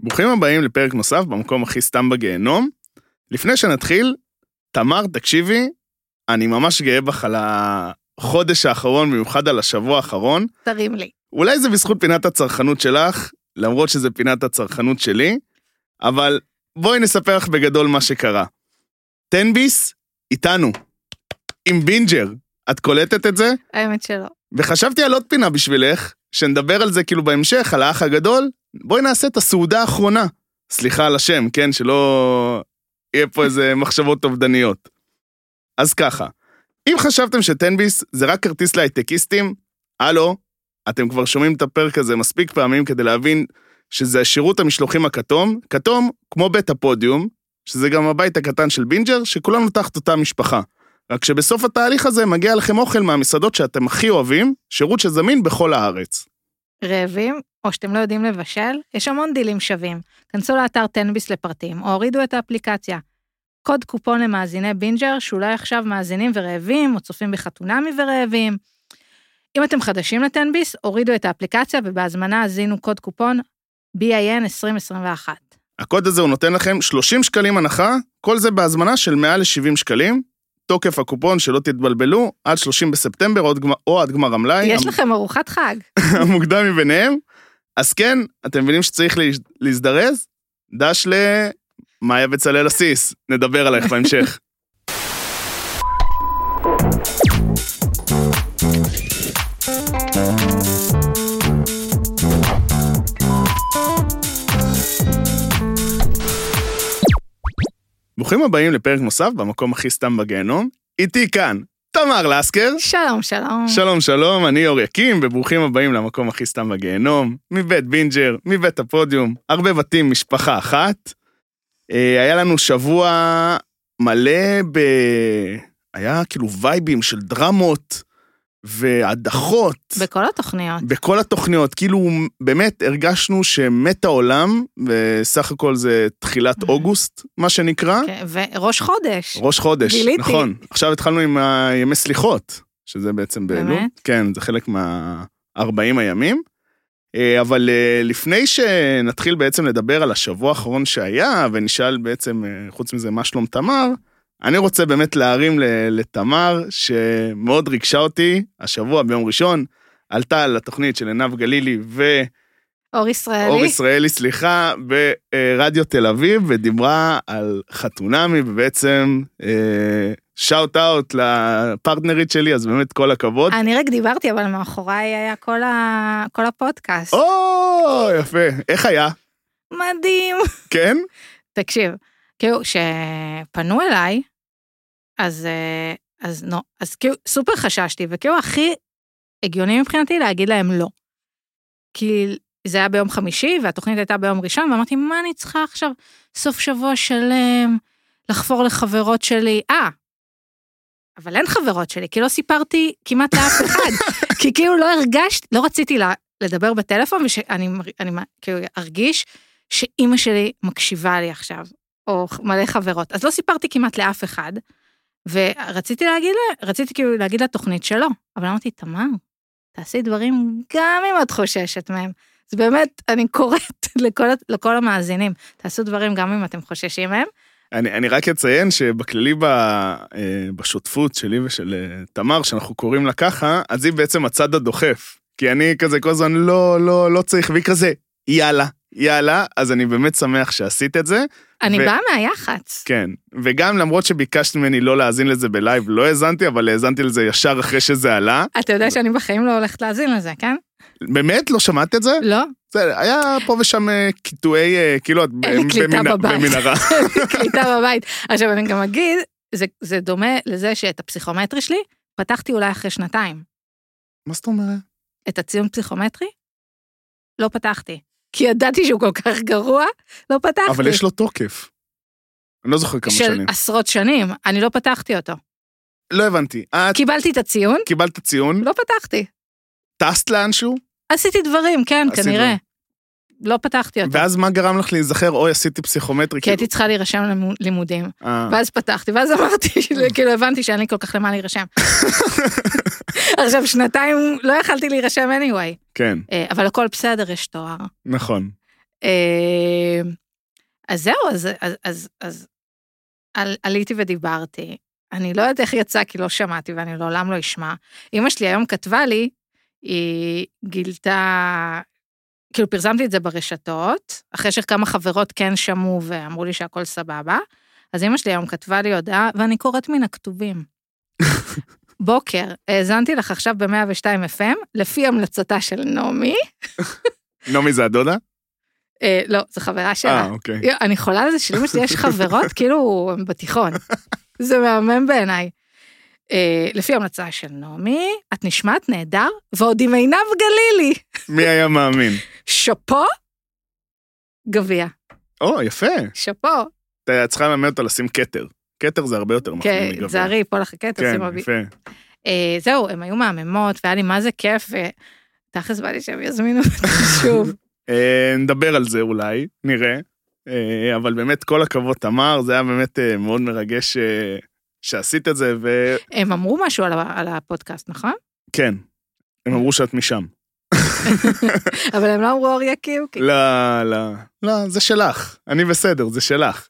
ברוכים הבאים לפרק נוסף במקום הכי סתם בגיהנום. לפני שנתחיל, תמר, תקשיבי, אני ממש גאה בך על החודש האחרון, במיוחד על השבוע האחרון. תרים לי. אולי זה בזכות פינת הצרכנות שלך, למרות שזה פינת הצרכנות שלי, אבל בואי נספר לך בגדול מה שקרה. תנביס איתנו, עם בינג'ר. את קולטת את זה? האמת שלא. וחשבתי על עוד פינה בשבילך, שנדבר על זה כאילו בהמשך, על האח הגדול, בואי נעשה את הסעודה האחרונה. סליחה על השם, כן? שלא יהיה פה איזה מחשבות אובדניות. אז ככה, אם חשבתם שתנביס זה רק כרטיס להייטקיסטים, הלו, אתם כבר שומעים את הפרק הזה מספיק פעמים כדי להבין שזה שירות המשלוחים הכתום, כתום כמו בית הפודיום, שזה גם הבית הקטן של בינג'ר, שכולנו תחת אותה משפחה. רק שבסוף התהליך הזה מגיע לכם אוכל מהמסעדות שאתם הכי אוהבים, שירות שזמין בכל הארץ. רעבים, או שאתם לא יודעים לבשל, יש המון דילים שווים. כנסו לאתר תנביס לפרטים, או הורידו את האפליקציה. קוד קופון למאזיני בינג'ר, שאולי עכשיו מאזינים ורעבים, או צופים בחתונמי ורעבים. אם אתם חדשים לתנביס, הורידו את האפליקציה, ובהזמנה הזינו קוד קופון BIN 2021. הקוד הזה הוא נותן לכם 30 שקלים הנחה, כל זה בהזמנה של מעל ל-70 שקלים. תוקף הקופון, שלא תתבלבלו, עד 30 בספטמבר או עד גמר- או עד גמר המלאי. יש לכם ארוחת חג. המוקדם מביניהם. אז כן, אתם מבינים שצריך לה- להזדרז? דש למאיה בצלאל עסיס, נדבר עלייך בהמשך. ברוכים הבאים לפרק נוסף במקום הכי סתם בגיהנום. איתי כאן, תמר לסקר. שלום, שלום. שלום שלום, אני אור יקים, וברוכים הבאים למקום הכי סתם בגיהנום, מבית בינג'ר, מבית הפודיום, הרבה בתים, משפחה אחת. אה, היה לנו שבוע מלא ב... היה כאילו וייבים של דרמות והדחות. בכל התוכניות. בכל התוכניות, כאילו באמת הרגשנו שמת העולם, וסך הכל זה תחילת אוגוסט, מה שנקרא. כן, וראש חודש. ראש חודש, גיליתי. נכון. עכשיו התחלנו עם הימי סליחות, שזה בעצם באלול. באמת? כן, זה חלק מה-40 הימים. אה, אבל אה, לפני שנתחיל בעצם לדבר על השבוע האחרון שהיה, ונשאל בעצם, אה, חוץ מזה, מה שלום תמר, אני רוצה באמת להרים ל- לתמר, שמאוד ריגשה אותי השבוע ביום ראשון, עלתה על התוכנית של עינב גלילי ו... אור ישראלי. אור ישראלי, סליחה, ברדיו תל אביב, ודיברה על חתונמי, ובעצם שאוט אאוט לפרטנרית שלי, אז באמת כל הכבוד. אני רק דיברתי, אבל מאחוריי היה כל, ה... כל הפודקאסט. או, יפה. איך היה? מדהים. כן? תקשיב, כאילו, כשפנו אליי, אז, אה, אז נו, אז כאילו, סופר חששתי, וכאילו הכי הגיוני מבחינתי להגיד להם לא. כי זה היה ביום חמישי, והתוכנית הייתה ביום ראשון, ואמרתי, מה אני צריכה עכשיו סוף שבוע שלם לחפור לחברות שלי? אה, אבל אין חברות שלי, כי לא סיפרתי כמעט לאף אחד. כי כאילו לא הרגשתי, לא רציתי לה- לדבר בטלפון, ושאני מר- אני מה- כאילו ארגיש שאימא שלי מקשיבה לי עכשיו, או ח- מלא חברות. אז לא סיפרתי כמעט לאף אחד, ורציתי להגיד לה, רציתי כאילו להגיד לתוכנית שלא, אבל אמרתי, תמר, תעשי דברים גם אם את חוששת מהם. אז באמת, אני קוראת לכל, ה- לכל המאזינים, תעשו דברים גם אם אתם חוששים מהם. אני, אני רק אציין שבכללי ב, אה, בשותפות שלי ושל אה, תמר, שאנחנו קוראים לה ככה, אז היא בעצם הצד הדוחף. כי אני כזה כל הזמן, לא, לא, לא צריך, והיא כזה, יאללה, יאללה, אז אני באמת שמח שעשית את זה. אני ו- באה מהיח"צ. כן, וגם למרות שביקשת ממני לא להאזין לזה בלייב, לא האזנתי, אבל האזנתי לזה ישר אחרי שזה עלה. אתה יודע שאני בחיים לא הולכת להאזין לזה, כן? באמת? לא שמעת את זה? לא? זה היה פה ושם אה, קיטועי, אה, כאילו את אין לי במ- קליטה במנ- בבית. במנהרה. קליטה בבית. עכשיו אני גם אגיד, זה, זה דומה לזה שאת הפסיכומטרי שלי, פתחתי אולי אחרי שנתיים. מה זאת אומרת? את הציון פסיכומטרי, לא פתחתי. כי ידעתי שהוא כל כך גרוע, לא פתחתי. אבל יש לו תוקף. אני לא זוכר כמה של שנים. עשרות שנים, אני לא פתחתי אותו. לא הבנתי. את קיבלתי את הציון, קיבלת ציון, לא פתחתי. טסת לאנשהו, עשיתי דברים, כן, עשית כנראה. לא פתחתי אותו. ואז מה גרם לך להיזכר, אוי, עשיתי פסיכומטרי, כי כאילו. הייתי צריכה להירשם ללימודים. אה, ואז פתחתי, ואז אמרתי, כאילו הבנתי שאין לי כל כך למה להירשם. עכשיו, שנתיים לא יכלתי להירשם anyway. כן, אה, אבל הכל בסדר, יש תואר. נכון. אה, אז זהו, אז, אז, אז, אז על, עליתי ודיברתי. אני לא יודעת איך יצא, כי לא שמעתי ואני לעולם לא אשמע. אימא שלי היום כתבה לי, היא גילתה, כאילו פרסמתי את זה ברשתות, אחרי שכמה חברות כן שמעו ואמרו לי שהכל סבבה, אז אימא שלי היום כתבה לי הודעה, ואני קוראת מן הכתובים. בוקר, האזנתי לך עכשיו ב-102 FM, לפי המלצתה של נעמי, נעמי זה הדודה? אה, לא, זו חברה שלה. אה, אוקיי. יו, אני חולה על זה שלאמא שלי יש חברות, כאילו, הן בתיכון. זה מהמם בעיניי. אה, לפי המלצה של נעמי, את נשמעת נהדר, ועוד עם עינב גלילי. מי היה מאמין? שאפו, גביע. או, יפה. שאפו. אתה צריכה ללמד אותה לשים כתר. כתר זה הרבה יותר מחמיא כן, מגביע. תזהרי, ייפול לך קטע, כן, שימה בי. יפה. אה, זהו, הן היו מהממות, והיה לי מה זה כיף, ותכלס בא לי שהם יזמינו אותי שוב. אה, נדבר על זה אולי, נראה. אה, אבל באמת, כל הכבוד, תמר, זה היה באמת אה, מאוד מרגש אה, שעשית את זה, וכן, הם אמרו משהו על ה- על הפודקאסט, נכון? כן, הם אמרו שאת משם. אבל הם לא אמרו אוריה קיוקי. לא, לא, לא, זה שלך. אני בסדר, זה שלך.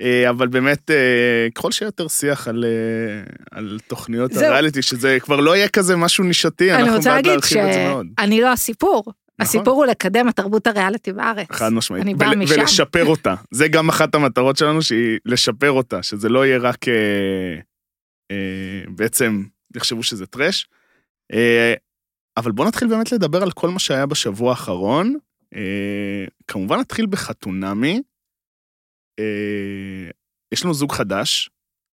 אה, אבל באמת, אה, ככל שיהיה יותר שיח על, אה, על תוכניות זהו. הריאליטי, שזה כבר לא יהיה כזה משהו נישתי, אני כן, אנחנו רוצה בעד להגיד להרחיב את זה מאוד. נכון. שאני לא הסיפור. הסיפור הוא לקדם את תרבות הריאליטי בארץ. חד משמעית. אני באה ול- משם. ולשפר אותה. זה גם אחת המטרות שלנו, שהיא לשפר אותה, שזה לא יהיה רק... אה, אה, בעצם, יחשבו שזה טרש. אה, אבל בואו נתחיל באמת לדבר על כל מה שהיה בשבוע האחרון. אה, כמובן נתחיל בחתונמי. אה, יש לנו זוג חדש,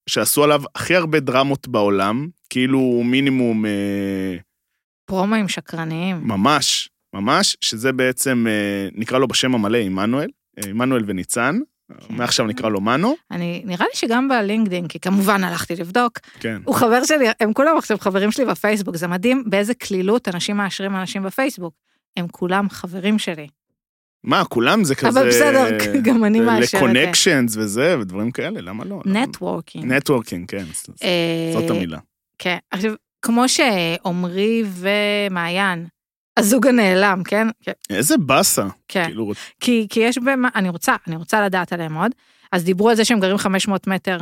שעשו עליו הכי הרבה דרמות בעולם, כאילו הוא מינימום... אה, פרומואים שקרניים. ממש, ממש, שזה בעצם, אה, נקרא לו בשם המלא עמנואל, אה, עמנואל וניצן, כן. מעכשיו נקרא לו מנו, אני, נראה לי שגם בלינקדאין, כי כמובן הלכתי לבדוק, כן. הוא חבר שלי, הם כולם עכשיו חברים שלי בפייסבוק, זה מדהים באיזה קלילות אנשים מאשרים אנשים בפייסבוק. הם כולם חברים שלי. מה, כולם זה כזה... אבל בסדר, גם אני מאשרת. אה, לקונקשנס וזה, ודברים כאלה, למה לא? נטוורקינג. נטוורקינג, כן, ז- אה, זאת המילה. כן, עכשיו, כמו שעמרי ומעיין, הזוג הנעלם, כן? כן, איזה באסה, כן. כאילו, כי, כי יש במה, אני רוצה, אני רוצה לדעת עליהם עוד. אז דיברו על זה שהם גרים 500 מטר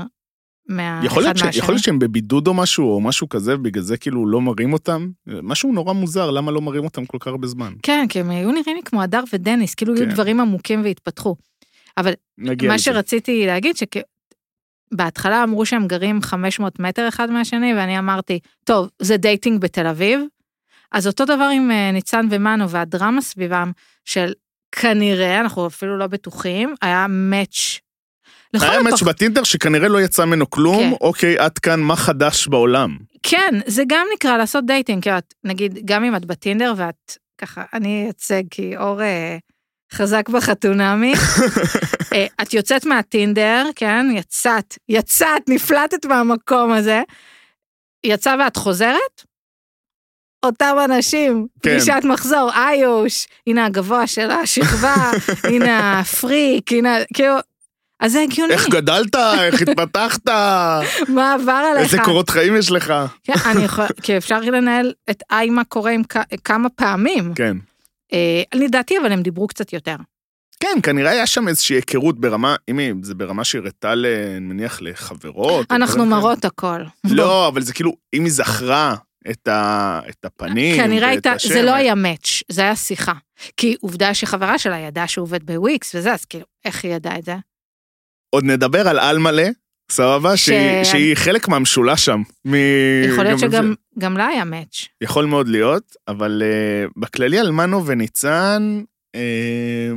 מה... יכול להיות אה, אחד ש- מהשני. יכול להיות שהם בבידוד או משהו, או משהו כזה, בגלל זה כאילו לא מראים אותם, משהו נורא מוזר, למה לא מראים אותם כל כך הרבה זמן? כן, כי הם היו נראים לי כמו הדר ודניס, כאילו כן. היו דברים עמוקים והתפתחו. נגיע מה לזה. שרציתי להגיד, שבהתחלה אמרו שהם גרים 500 מטר אחד מהשני, ואני אמרתי, טוב, זה דייטינג בתל אביב. אז אותו דבר עם אה, ניצן ומנו והדרמה סביבם, של כנראה, אנחנו אפילו לא בטוחים, היה מאץ'. לכל היה הפחות- מאץ' בטינדר שכנראה לא יצא ממנו כלום, נכון, כן. אוקיי, עד כאן, מה חדש בעולם? כן, זה גם נקרא לעשות דייטינג, כי את, נגיד, גם אם את בטינדר ואת ככה, אני אייצג כי אור אה, חזק בחתונמי, אה, את יוצאת מהטינדר, כן, יצאת, יצאת, נפלטת מהמקום הזה, יצא ואת חוזרת, אותם אנשים, כן. פגישת מחזור, איוש, הנה הגבוה של השכבה, הנה הפריק, הנה, כאילו, אז זה הגיוני, איך גדלת, איך התפתחת, מה עבר עליך? איזה קורות חיים יש לך. כן, אני יכול, כי אפשר לנהל את איי מה קורה עם כ- כמה פעמים. כן. אה, לדעתי, אבל הם דיברו קצת יותר. כן, כנראה היה שם איזושהי היכרות ברמה, אם זה ברמה שהראתה, ל- אני מניח, לחברות. או אנחנו דברים כאלה. מראות הכל. לא, אבל זה כאילו, אם היא זכרה את ה- את הפנים, כנראה ואת הייתה, השם, זה לא היה מאץ', זה היה שיחה. כי עובדה שחברה שלה ידעה שהוא עובד בוויקס וזה, אז כאילו, איך היא ידעה את זה? עוד נדבר על על מלא, סבבה? ש- שהיא- שהיא חלק מהמשולש שם. מ- יכול להיות אה, גם- שגם גם לה היה מאץ'. יכול מאוד להיות, אבל uh, בכללי אלמנו וניצן, uh,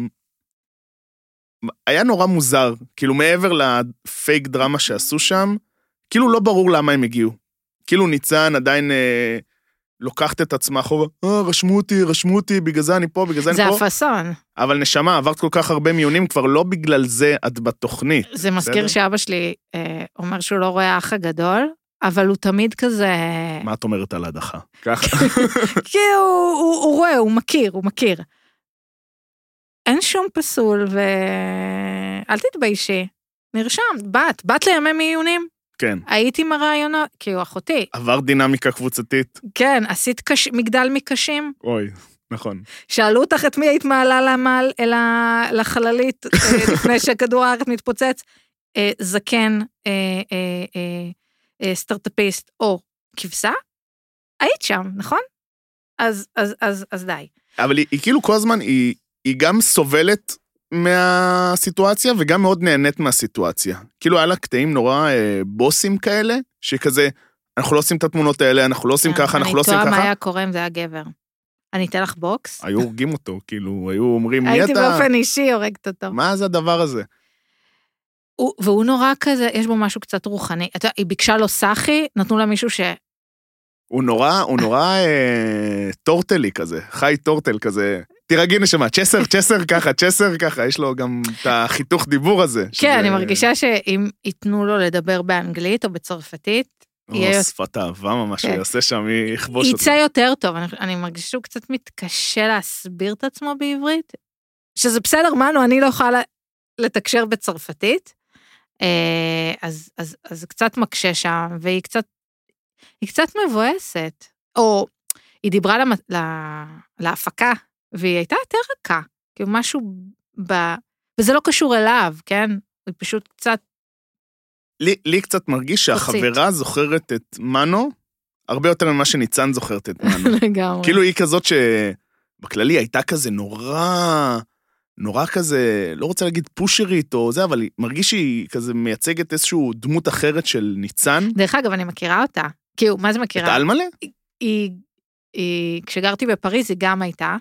היה נורא מוזר, כאילו מעבר לפייק דרמה שעשו שם, כאילו לא ברור למה הם הגיעו. כאילו ניצן עדיין uh, לוקחת את עצמה אחורה, אה, רשמו אותי, רשמו אותי, בגלל זה אני פה, בגלל זה אני זה פה. הפאסון. אבל נשמה, עברת כל כך הרבה מיונים, כבר לא בגלל זה את בתוכנית. זה מזכיר בסדר. שאבא שלי אה, אומר שהוא לא רואה האח הגדול, אבל הוא תמיד כזה... מה את אומרת על ההדחה? ככה. כי הוא, הוא, הוא רואה, הוא מכיר, הוא מכיר. אין שום פסול, ואל תתביישי. נרשמת, באת, באת לימי מיונים, כן. היית עם הרעיונות, כאילו אחותי, עברת דינמיקה קבוצתית? כן, עשית קש... מגדל מקשים, אוי. נכון. שאלו אותך את מי היית מעלה למעל, אל- לחללית אה, לפני שכדור הארץ מתפוצץ? אה, זקן, אה, אה, אה, אה, סטארטאפיסט או כבשה? היית שם, נכון? אז, אז, אז, אז די. אבל היא, היא כאילו כל הזמן, היא, היא גם סובלת מהסיטואציה וגם מאוד נהנית מהסיטואציה. כאילו היה לה קטעים נורא אה, בוסים כאלה, שכזה, אנחנו לא עושים את התמונות האלה, אנחנו לא עושים ככה, אנחנו לא עושים כן, אני תוהה מה ככה. היה קורה אם זה היה גבר. אני אתן לך בוקס? היו הורגים אותו, כאילו, היו אומרים, מי הייתי אתה? באופן אישי הורגת אותו. מה זה הדבר הזה? הוא- והוא נורא כזה, יש בו משהו קצת רוחני. אתה יודע, היא ביקשה לו סאחי, נתנו לה מישהו ש... הוא נורא, הוא נורא אה, טורטלי כזה, חי טורטל כזה. תירגעי נשמה, צ'סר, צ'סר ככה, צ'סר ככה, יש לו גם את החיתוך דיבור הזה. כן, שזה- אני מרגישה שאם ייתנו לו לדבר באנגלית או בצרפתית, או, יהיה- שפת אהבה ממש, כן. שהוא יעשה שם, היא יכבוש אותו. יצא יותר טוב. אני, אני מרגישה שהוא קצת מתקשה להסביר את עצמו בעברית, שזה בסדר, מנו, אני לא יכולה ל- לתקשר בצרפתית, אה, אז, אז, אז זה קצת מקשה שם, והיא קצת, היא קצת מבואסת. או היא דיברה למ, ל, להפקה, והיא הייתה יותר רכה, כאילו משהו ב... וזה לא קשור אליו, כן? היא פשוט קצת... לי, לי קצת מרגיש שהחברה זוכרת את מנו הרבה יותר ממה שניצן זוכרת את מנו. לגמרי. כאילו היא כזאת שבכללי הייתה כזה נורא, נורא כזה, לא רוצה להגיד פושרית או זה, אבל היא מרגיש שהיא כזה מייצגת איזושהי דמות אחרת של ניצן. דרך אגב, אני מכירה אותה. כאילו, מה זה את מכירה? אלמלה? היא, היא, כשגרתי בפריז היא גם הייתה.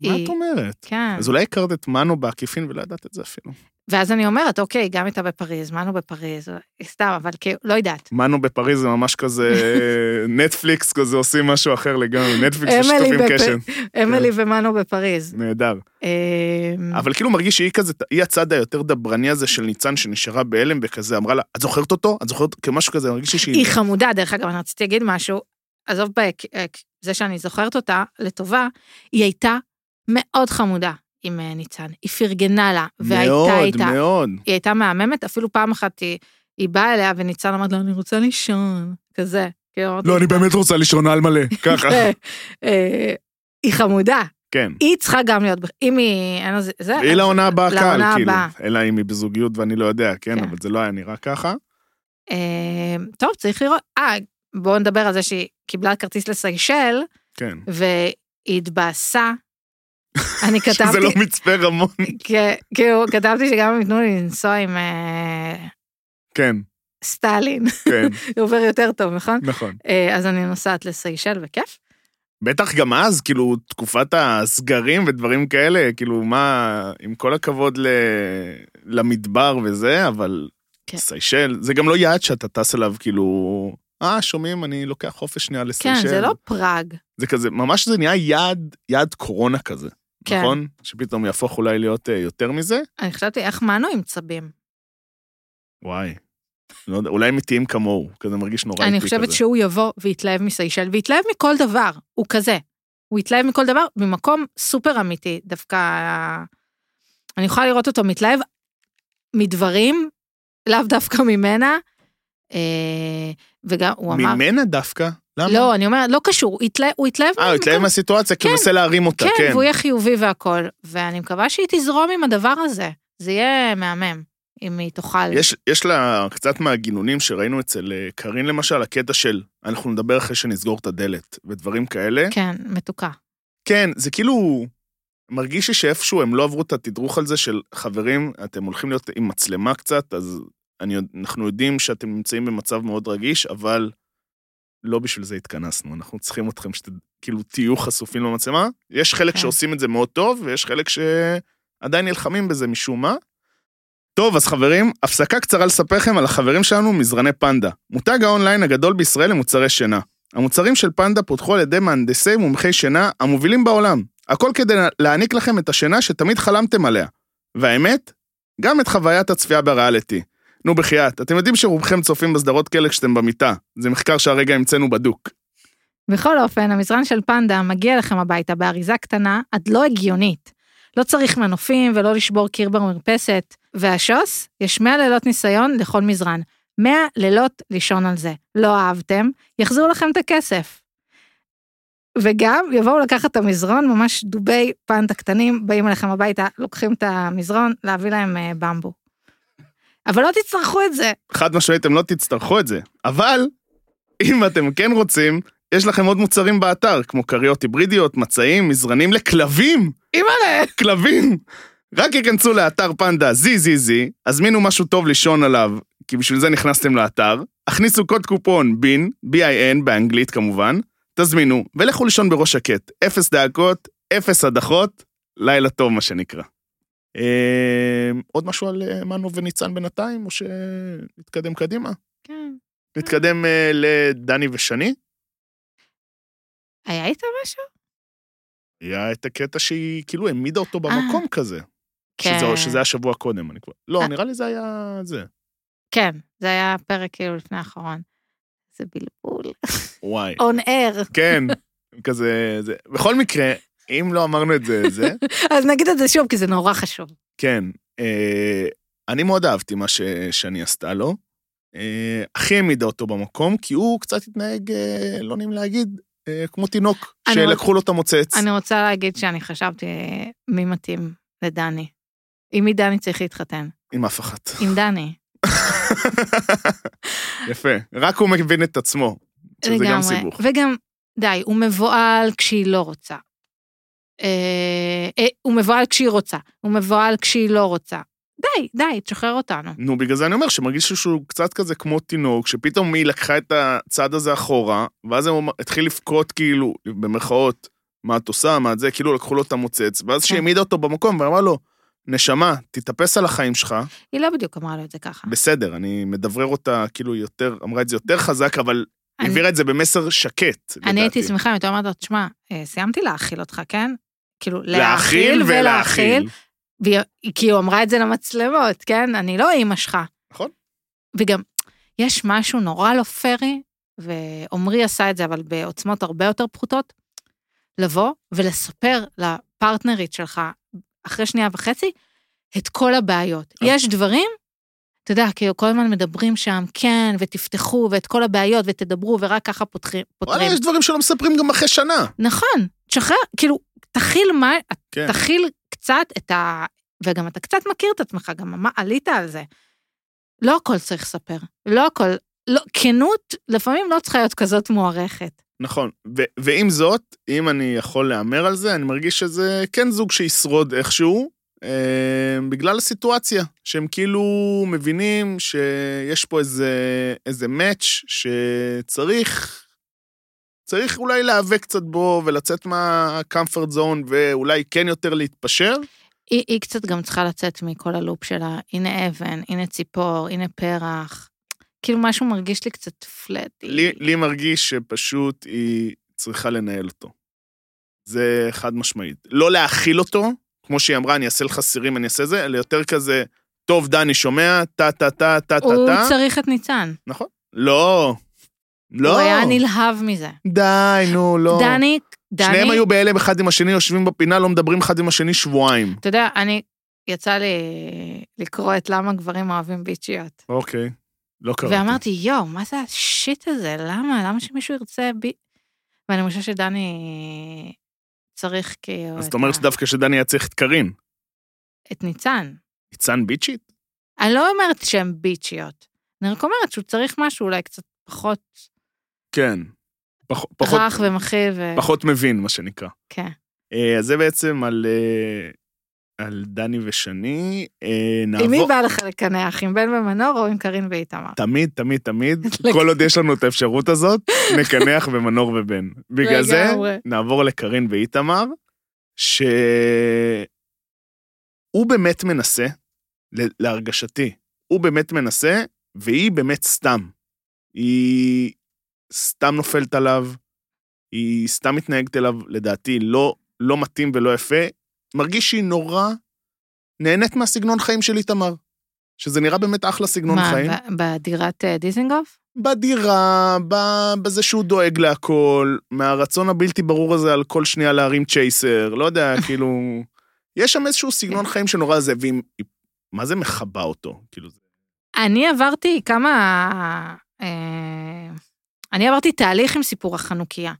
מה היא- את אומרת? כן. אז אולי הכרת את מנו בעקיפין ולא ידעת את זה אפילו. ואז אני אומרת, אוקיי, היא גם הייתה בפריז, מנו בפריז, סתם, אבל כאילו, לא יודעת. מנו בפריז זה ממש כזה נטפליקס כזה עושים משהו אחר לגמרי, נטפליקס אמילי ושותפים בפ- קשן. אמילי ומנו בפריז. נהדר. אמ, אבל כאילו מרגיש שהיא כזה, היא הצד היותר דברני הזה של ניצן שנשארה בהלם וכזה, אמרה לה, את זוכרת אותו? את זוכרת? כמשהו כזה, מרגיש לי היא שהיא... חמודה, דרך אגב, אני רציתי להגיד משהו, עזוב ב- אה, זה שאני זוכרת אותה לטובה, היא הייתה מאוד חמודה עם אה, ניצן. היא פרגנה לה, והייתה מאוד, איתה. מאוד. היא הייתה מהממת, אפילו פעם אחת היא, היא באה אליה וניצן אמרת לה, אני רוצה לישון, כזה. כאילו, אמרתי, לא, אני באמת רוצה לישון על מלא, ככה. אה, אה, היא חמודה, כן. היא צריכה גם להיות, בח- אם היא, אין לזה, זה, והיא לא- לעונה הבאה קהל, אה, לעונה כאילו. הבאה. אלא אם היא בזוגיות ואני לא יודע, כן, כן. אבל זה לא היה נראה ככה. אה, טוב, צריך לראות, אה, בואו נדבר על זה שהיא קיבלה כרטיס לסיישל, כן. והיא התבאסה. אני שזה לא כתבתי, מצפה רמון. כ- כאילו, כתבתי שגם אם ייתנו לי לנסוע עם אה, כן, סטלין, כן, זה עובר יותר טוב, נכון? נכון. אה, אז אני נוסעת לסיישל, בכיף. בטח גם אז, כאילו, תקופת הסגרים ודברים כאלה, כאילו, מה, עם כל הכבוד ל... למדבר וזה, אבל כן. כן. סיישל, זה גם לא יעד שאתה טס אליו, כאילו, אה, שומעים, אני לוקח חופש שנייה כן, לסיישל. זה לא פראג. זה כזה, ממש זה נהיה יעד, יעד קורונה כזה, כן. כן. נכון? שפתאום יהפוך אולי להיות אה, יותר מזה? אני חשבתי, איך מנו עם צבים? וואי. לא יודע, אולי הם איטיים כמוהו, כזה מרגיש נורא איטי כזה. אני חושבת שהוא יבוא ויתלהב מסיישל, ויתלהב מכל דבר, הוא כזה. הוא יתלהב מכל דבר, במקום סופר אמיתי, דווקא... אני יכולה לראות אותו מתלהב מדברים, לאו דווקא ממנה, אה, וגם הוא אמר... ממנה דווקא? למה? לא, אני אומרת, לא קשור, הוא יתלהב... הוא יתלהב אה, הוא התלהב ממקום- מהסיטואציה, כי הוא כן. מנסה להרים אותה, כן. כן, והוא יהיה חיובי והכול, ואני מקווה שהיא תזרום עם הדבר הזה, זה יהיה מהמם, אם היא תוכל. יש, יש לה קצת מהגינונים שראינו אצל אה, קארין למשל, הקטע של אנחנו נדבר אחרי שנסגור את הדלת ודברים כאלה. כן, כן, מתוקה. כן זה כאילו... מרגיש לי שאיפשהו הם לא עברו את התדרוך על זה של חברים, אתם הולכים להיות עם מצלמה קצת, אז אני, יודע- אנחנו יודעים שאתם נמצאים במצב מאוד רגיש, אבל לא בשביל זה התכנסנו, אנחנו צריכים אתכם שת, כאילו תהיו חשופים למצלמה. יש חלק כן. שעושים את זה מאוד טוב, ויש חלק שעדיין נלחמים בזה משום מה. טוב, אז חברים, הפסקה קצרה לספר לכם על החברים שלנו מזרני פנדה, מותג האונליין הגדול בישראל למוצרי שינה. המוצרים של פנדה פותחו על ידי מהנדסי ומומחי שינה המובילים בעולם. הכל כדי להעניק לכם את השינה שתמיד חלמתם עליה. והאמת, גם את חוויית הצפייה בריאליטי. נו בחייאת, אתם יודעים שרובכם צופים בסדרות כאלה כשאתם במיטה. זה מחקר שהרגע המצאנו בדוק. בכל אופן, המזרן של פנדה מגיע לכם הביתה באריזה קטנה עד לא הגיונית. לא צריך מנופים ולא לשבור קיר במרפסת. והשוס, יש 100 לילות ניסיון לכל מזרן. 100 לילות לישון על זה. לא אהבתם, יחזירו לכם את הכסף. וגם יבואו לקחת את המזרון, ממש דובי פנטה קטנים, באים אליכם הביתה, לוקחים את המזרון, להביא להם אה, במבו. אבל לא תצטרכו את זה. חד משמעית, אתם לא תצטרכו את זה. אבל, אם אתם כן רוצים, יש לכם עוד מוצרים באתר, כמו כריות היברידיות, מצעים, מזרנים לכלבים! אימא'לה! כלבים! רק ייכנסו לאתר פנדה ZZZ, הזמינו משהו טוב לישון עליו, כי בשביל זה נכנסתם לאתר, הכניסו קוד קופון בין, B-I-N באנגלית כמובן, תזמינו, ולכו לישון בראש שקט. אפס דאגות, אפס הדחות, לילה טוב מה שנקרא. אה, עוד משהו על אה, מנו וניצן בינתיים, או שנתקדם קדימה? כן. נתקדם אה, לדני ושני. היה איתה משהו? היה את הקטע שהיא כאילו העמידה אותו במקום כזה. שזה, שזה היה שבוע קודם, אני כבר... לא, כן. אה. נראה לי זה היה זה. כן, זה היה פרק כאילו לפני האחרון. זה בלבול. וואי. און אר. כן, כזה... זה. בכל מקרה, אם לא אמרנו את זה, זה, אז נגיד את זה שוב, כי זה נורא חשוב. כן. אה, אני מאוד אהבתי מה ש, שאני עשתה לו. אה, הכי העמידה אותו במקום, כי הוא קצת התנהג, אה, לא נעים להגיד, אה, כמו תינוק, אני שלקחו לו את המוצץ. אני רוצה להגיד שאני חשבתי אה, מי מתאים לדני. עם מי דני צריך להתחתן? עם אף אחת. עם דני. יפה. רק הוא מבין את עצמו, שזה גם לגמרי. סיבוך. וגם, די, הוא מבוהל כשהיא לא רוצה. אה, אה, הוא מבוהל כשהיא רוצה. הוא מבוהל כשהיא לא רוצה. די, די, תשחרר אותנו. נו, בגלל זה אני אומר שמרגיש לי שהוא קצת כזה כמו תינוק, שפתאום היא לקחה את הצד הזה אחורה, ואז הוא אמר- התחיל לבכות כאילו, במרכאות, מה את עושה, מה את זה, כאילו לקחו לו את המוצץ, כן. ואז שהיא העמידה אותו במקום ואמרה לו, נשמה, תתאפס על החיים שלך, היא לא בדיוק אמרה לו את זה ככה. בסדר, אני מדברר אותה כאילו יותר, אמרה את זה יותר חזק, אבל אני- העבירה את זה במסר שקט, לדעתי. אני הייתי שמחה אם הייתה אומרת לו, תשמע, אה, סיימתי להאכיל אותך, כן? כאילו, להאכיל ולהאכיל. והיא כאילו אמרה את זה למצלמות, כן? אני לא אימא שלך. נכון. וגם, יש משהו נורא לא פרי, ועמרי עשה את זה, אבל בעוצמות הרבה יותר פחותות, לבוא ולספר לפרטנרית שלך, אחרי שנייה וחצי, את כל הבעיות. אה. יש דברים, אתה יודע, כאילו כל הזמן מדברים שם, כן, ותפתחו, ואת כל הבעיות, ותדברו, ורק ככה פותחים- וואלה, פותרים. יש דברים שלא מספרים גם אחרי שנה. נכון, תשחרר, כאילו, תכיל מה, כן. תכיל קצת את ה... וגם אתה קצת מכיר את עצמך, גם מה, עלית על זה. לא הכל צריך לספר, לא הכל, לא, כנות לפעמים לא צריכה להיות כזאת מוערכת. נכון, ו- ועם זאת, אם אני יכול להמר על זה, אני מרגיש שזה כן זוג שישרוד איכשהו, אה, בגלל הסיטואציה, שהם כאילו מבינים שיש פה איזה, איזה מאץ' שצריך, צריך אולי להיאבק קצת בו ולצאת מהקמפרט זון ואולי כן יותר להתפשר. היא, היא קצת גם צריכה לצאת מכל הלופ שלה, הנה אבן, הנה ציפור, הנה פרח. כאילו משהו מרגיש לי קצת פלטי. לי, לי מרגיש שפשוט היא צריכה לנהל אותו. זה חד משמעית. לא להכיל אותו, כמו שהיא אמרה, אני אעשה לך סירים, אני אעשה זה, אלא יותר כזה, טוב, דני שומע, טה-טה-טה, הוא טה-טה-טה. צריך את ניצן. נכון. לא. לא. הוא היה נלהב מזה. די, נו, לא. דני, דני... שניהם היו בהלם אחד עם השני, יושבים בפינה, לא מדברים אחד עם השני שבועיים. אתה יודע, אני, יצא לי לקרוא את למה גברים אוהבים ביצ'יות. אוקיי. לא קראתי. ואמרתי, יואו, מה זה השיט הזה? למה? למה שמישהו ירצה בי... ואני חושבת שדני צריך כאילו... אז את אתה אומר ה- שדווקא שדני היה צריך את קארין. את ניצן. ניצן ביצ'ית? אני לא אומרת שהן ביצ'יות. אני רק אומרת שהוא צריך משהו אולי קצת פחות כן. פח- פחות- רך ומכיל ו... פחות מבין, מה שנקרא. כן. אה, אז זה בעצם על, אה, על דני ושני. אה, עם מי נעבור... בא לך לקנח? עם בן במנור או עם קארין ואיתמר? תמיד, תמיד, תמיד, כל עוד יש לנו את האפשרות הזאת, נקנח במנור ובן. בגלל זה, לגמרי. נעבור לקרין ואיתמר, שהוא באמת מנסה, ל- להרגשתי, הוא באמת מנסה, והיא באמת סתם. היא סתם נופלת עליו, היא סתם מתנהגת אליו, לדעתי, לא, לא מתאים ולא יפה. מרגיש שהיא נורא נהנית מהסגנון חיים של איתמר, שזה נראה באמת אחלה סגנון מה, חיים. ב- בדירת אה, דיזינגוף? בדירה, ב- בזה שהוא דואג להכל, מהרצון הבלתי ברור הזה על כל שנייה להרים צ'ייסר, לא יודע, כאילו... יש שם איזשהו סגנון חיים שנורא זה, ואם... מה זה מכבה אותו? כאילו, זה- אני עברתי כמה... אה, אני עברתי תהליך עם סיפור החנוכיה.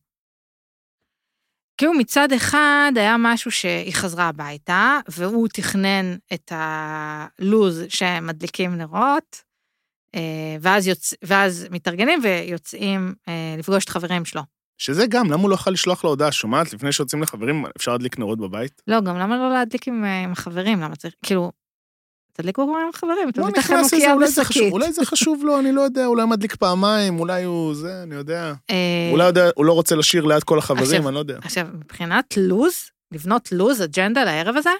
כאילו מצד אחד היה משהו שהיא חזרה הביתה, והוא תכנן את הלוז שמדליקים נרות, אה, ואז, יוצ... ואז מתארגנים ויוצאים אה, לפגוש את חברים שלו. שזה גם, למה הוא לא יכול לשלוח לה הודעה? שומעת, לפני שיוצאים לחברים, אפשר להדליק נרות בבית? לא, גם למה לא להדליק עם, אה, עם החברים? למה צריך, כאילו, תדליקו כבר עם החברים, לא תביא את נכנס לזה, החנוכיה אולי זה חשוב, בשקית. אולי זה חשוב לו, אני לא יודע, אולי הוא מדליק פעמיים, אולי הוא זה, אני יודע. אה, אולי יודע- הוא לא רוצה לשיר ליד כל החברים, עכשיו- אני לא יודע. עכשיו, מבחינת לוז, לבנות לוז, אג'נדה לערב הזה,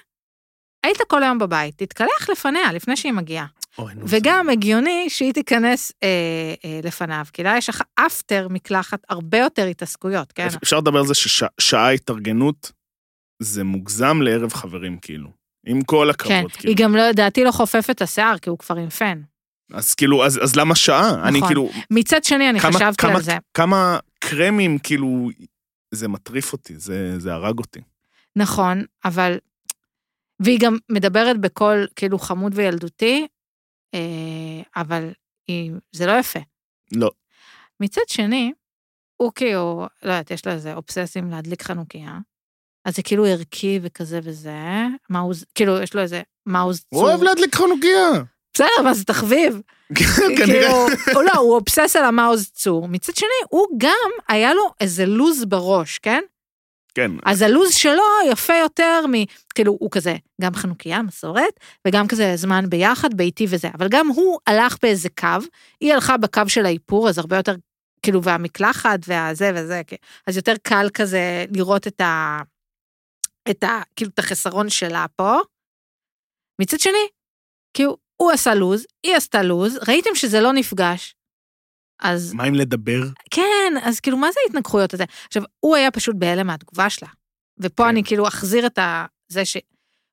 היית כל היום בבית, תתקלח לפניה, לפני שהיא מגיעה. אוי, נו, זה- וגם הגיוני שהיא תיכנס אה, אה, לפניו, כי לה יש לך אפטר מקלחת הרבה יותר התעסקויות, כן? אפשר לדבר על זה ששעה התארגנות זה מוגזם לערב חברים, כאילו. עם כל כן, הכבוד, היא כאילו. גם לא, לדעתי לא חופפת את השיער, כי הוא כבר עם פן. אז כאילו, אז אז למה שעה? אני נכון. כאילו, מצד שני, אני כמה- חשבתי כמה- על זה. כמה קרמים, כאילו, זה מטריף אותי, זה זה הרג אותי. נכון, אבל... והיא גם מדברת בקול כאילו חמוד וילדותי, אה, אבל היא, זה לא יפה. לא. מצד שני, הוא כאילו, לא יודעת, יש לו איזה אובססים להדליק חנוכיה, אז זה כאילו ערכי וכזה וזה, מאוז, כאילו, יש לו איזה מאוז הוא אוהב להדליק כן, חנוכיה. בסדר, מה זה תחביב? כנראה. כאילו, הוא לא, הוא אובסס על המאוז צור. מצד שני, הוא גם, היה לו איזה לוז בראש, כן? כן, אז הלוז שלו יפה יותר מ... כאילו, הוא כזה, גם חנוכיה, מסורת, וגם כזה זמן ביחד, ביתי וזה. אבל גם הוא הלך באיזה קו, היא הלכה בקו של האיפור, אז הרבה יותר, כאילו, והמקלחת והזה וזה, כן. אז יותר קל כזה לראות את ה... את ה... כאילו, את החסרון שלה פה. מצד שני, כאילו, הוא עשה לוז, היא עשתה לוז, ראיתם שזה לא נפגש. אז מה עם לדבר? כן, אז כאילו, מה זה ההתנגחויות הזה? עכשיו, הוא היה פשוט בהלם מהתגובה שלה. ופה כן. אני כאילו אחזיר את ה... זה ש...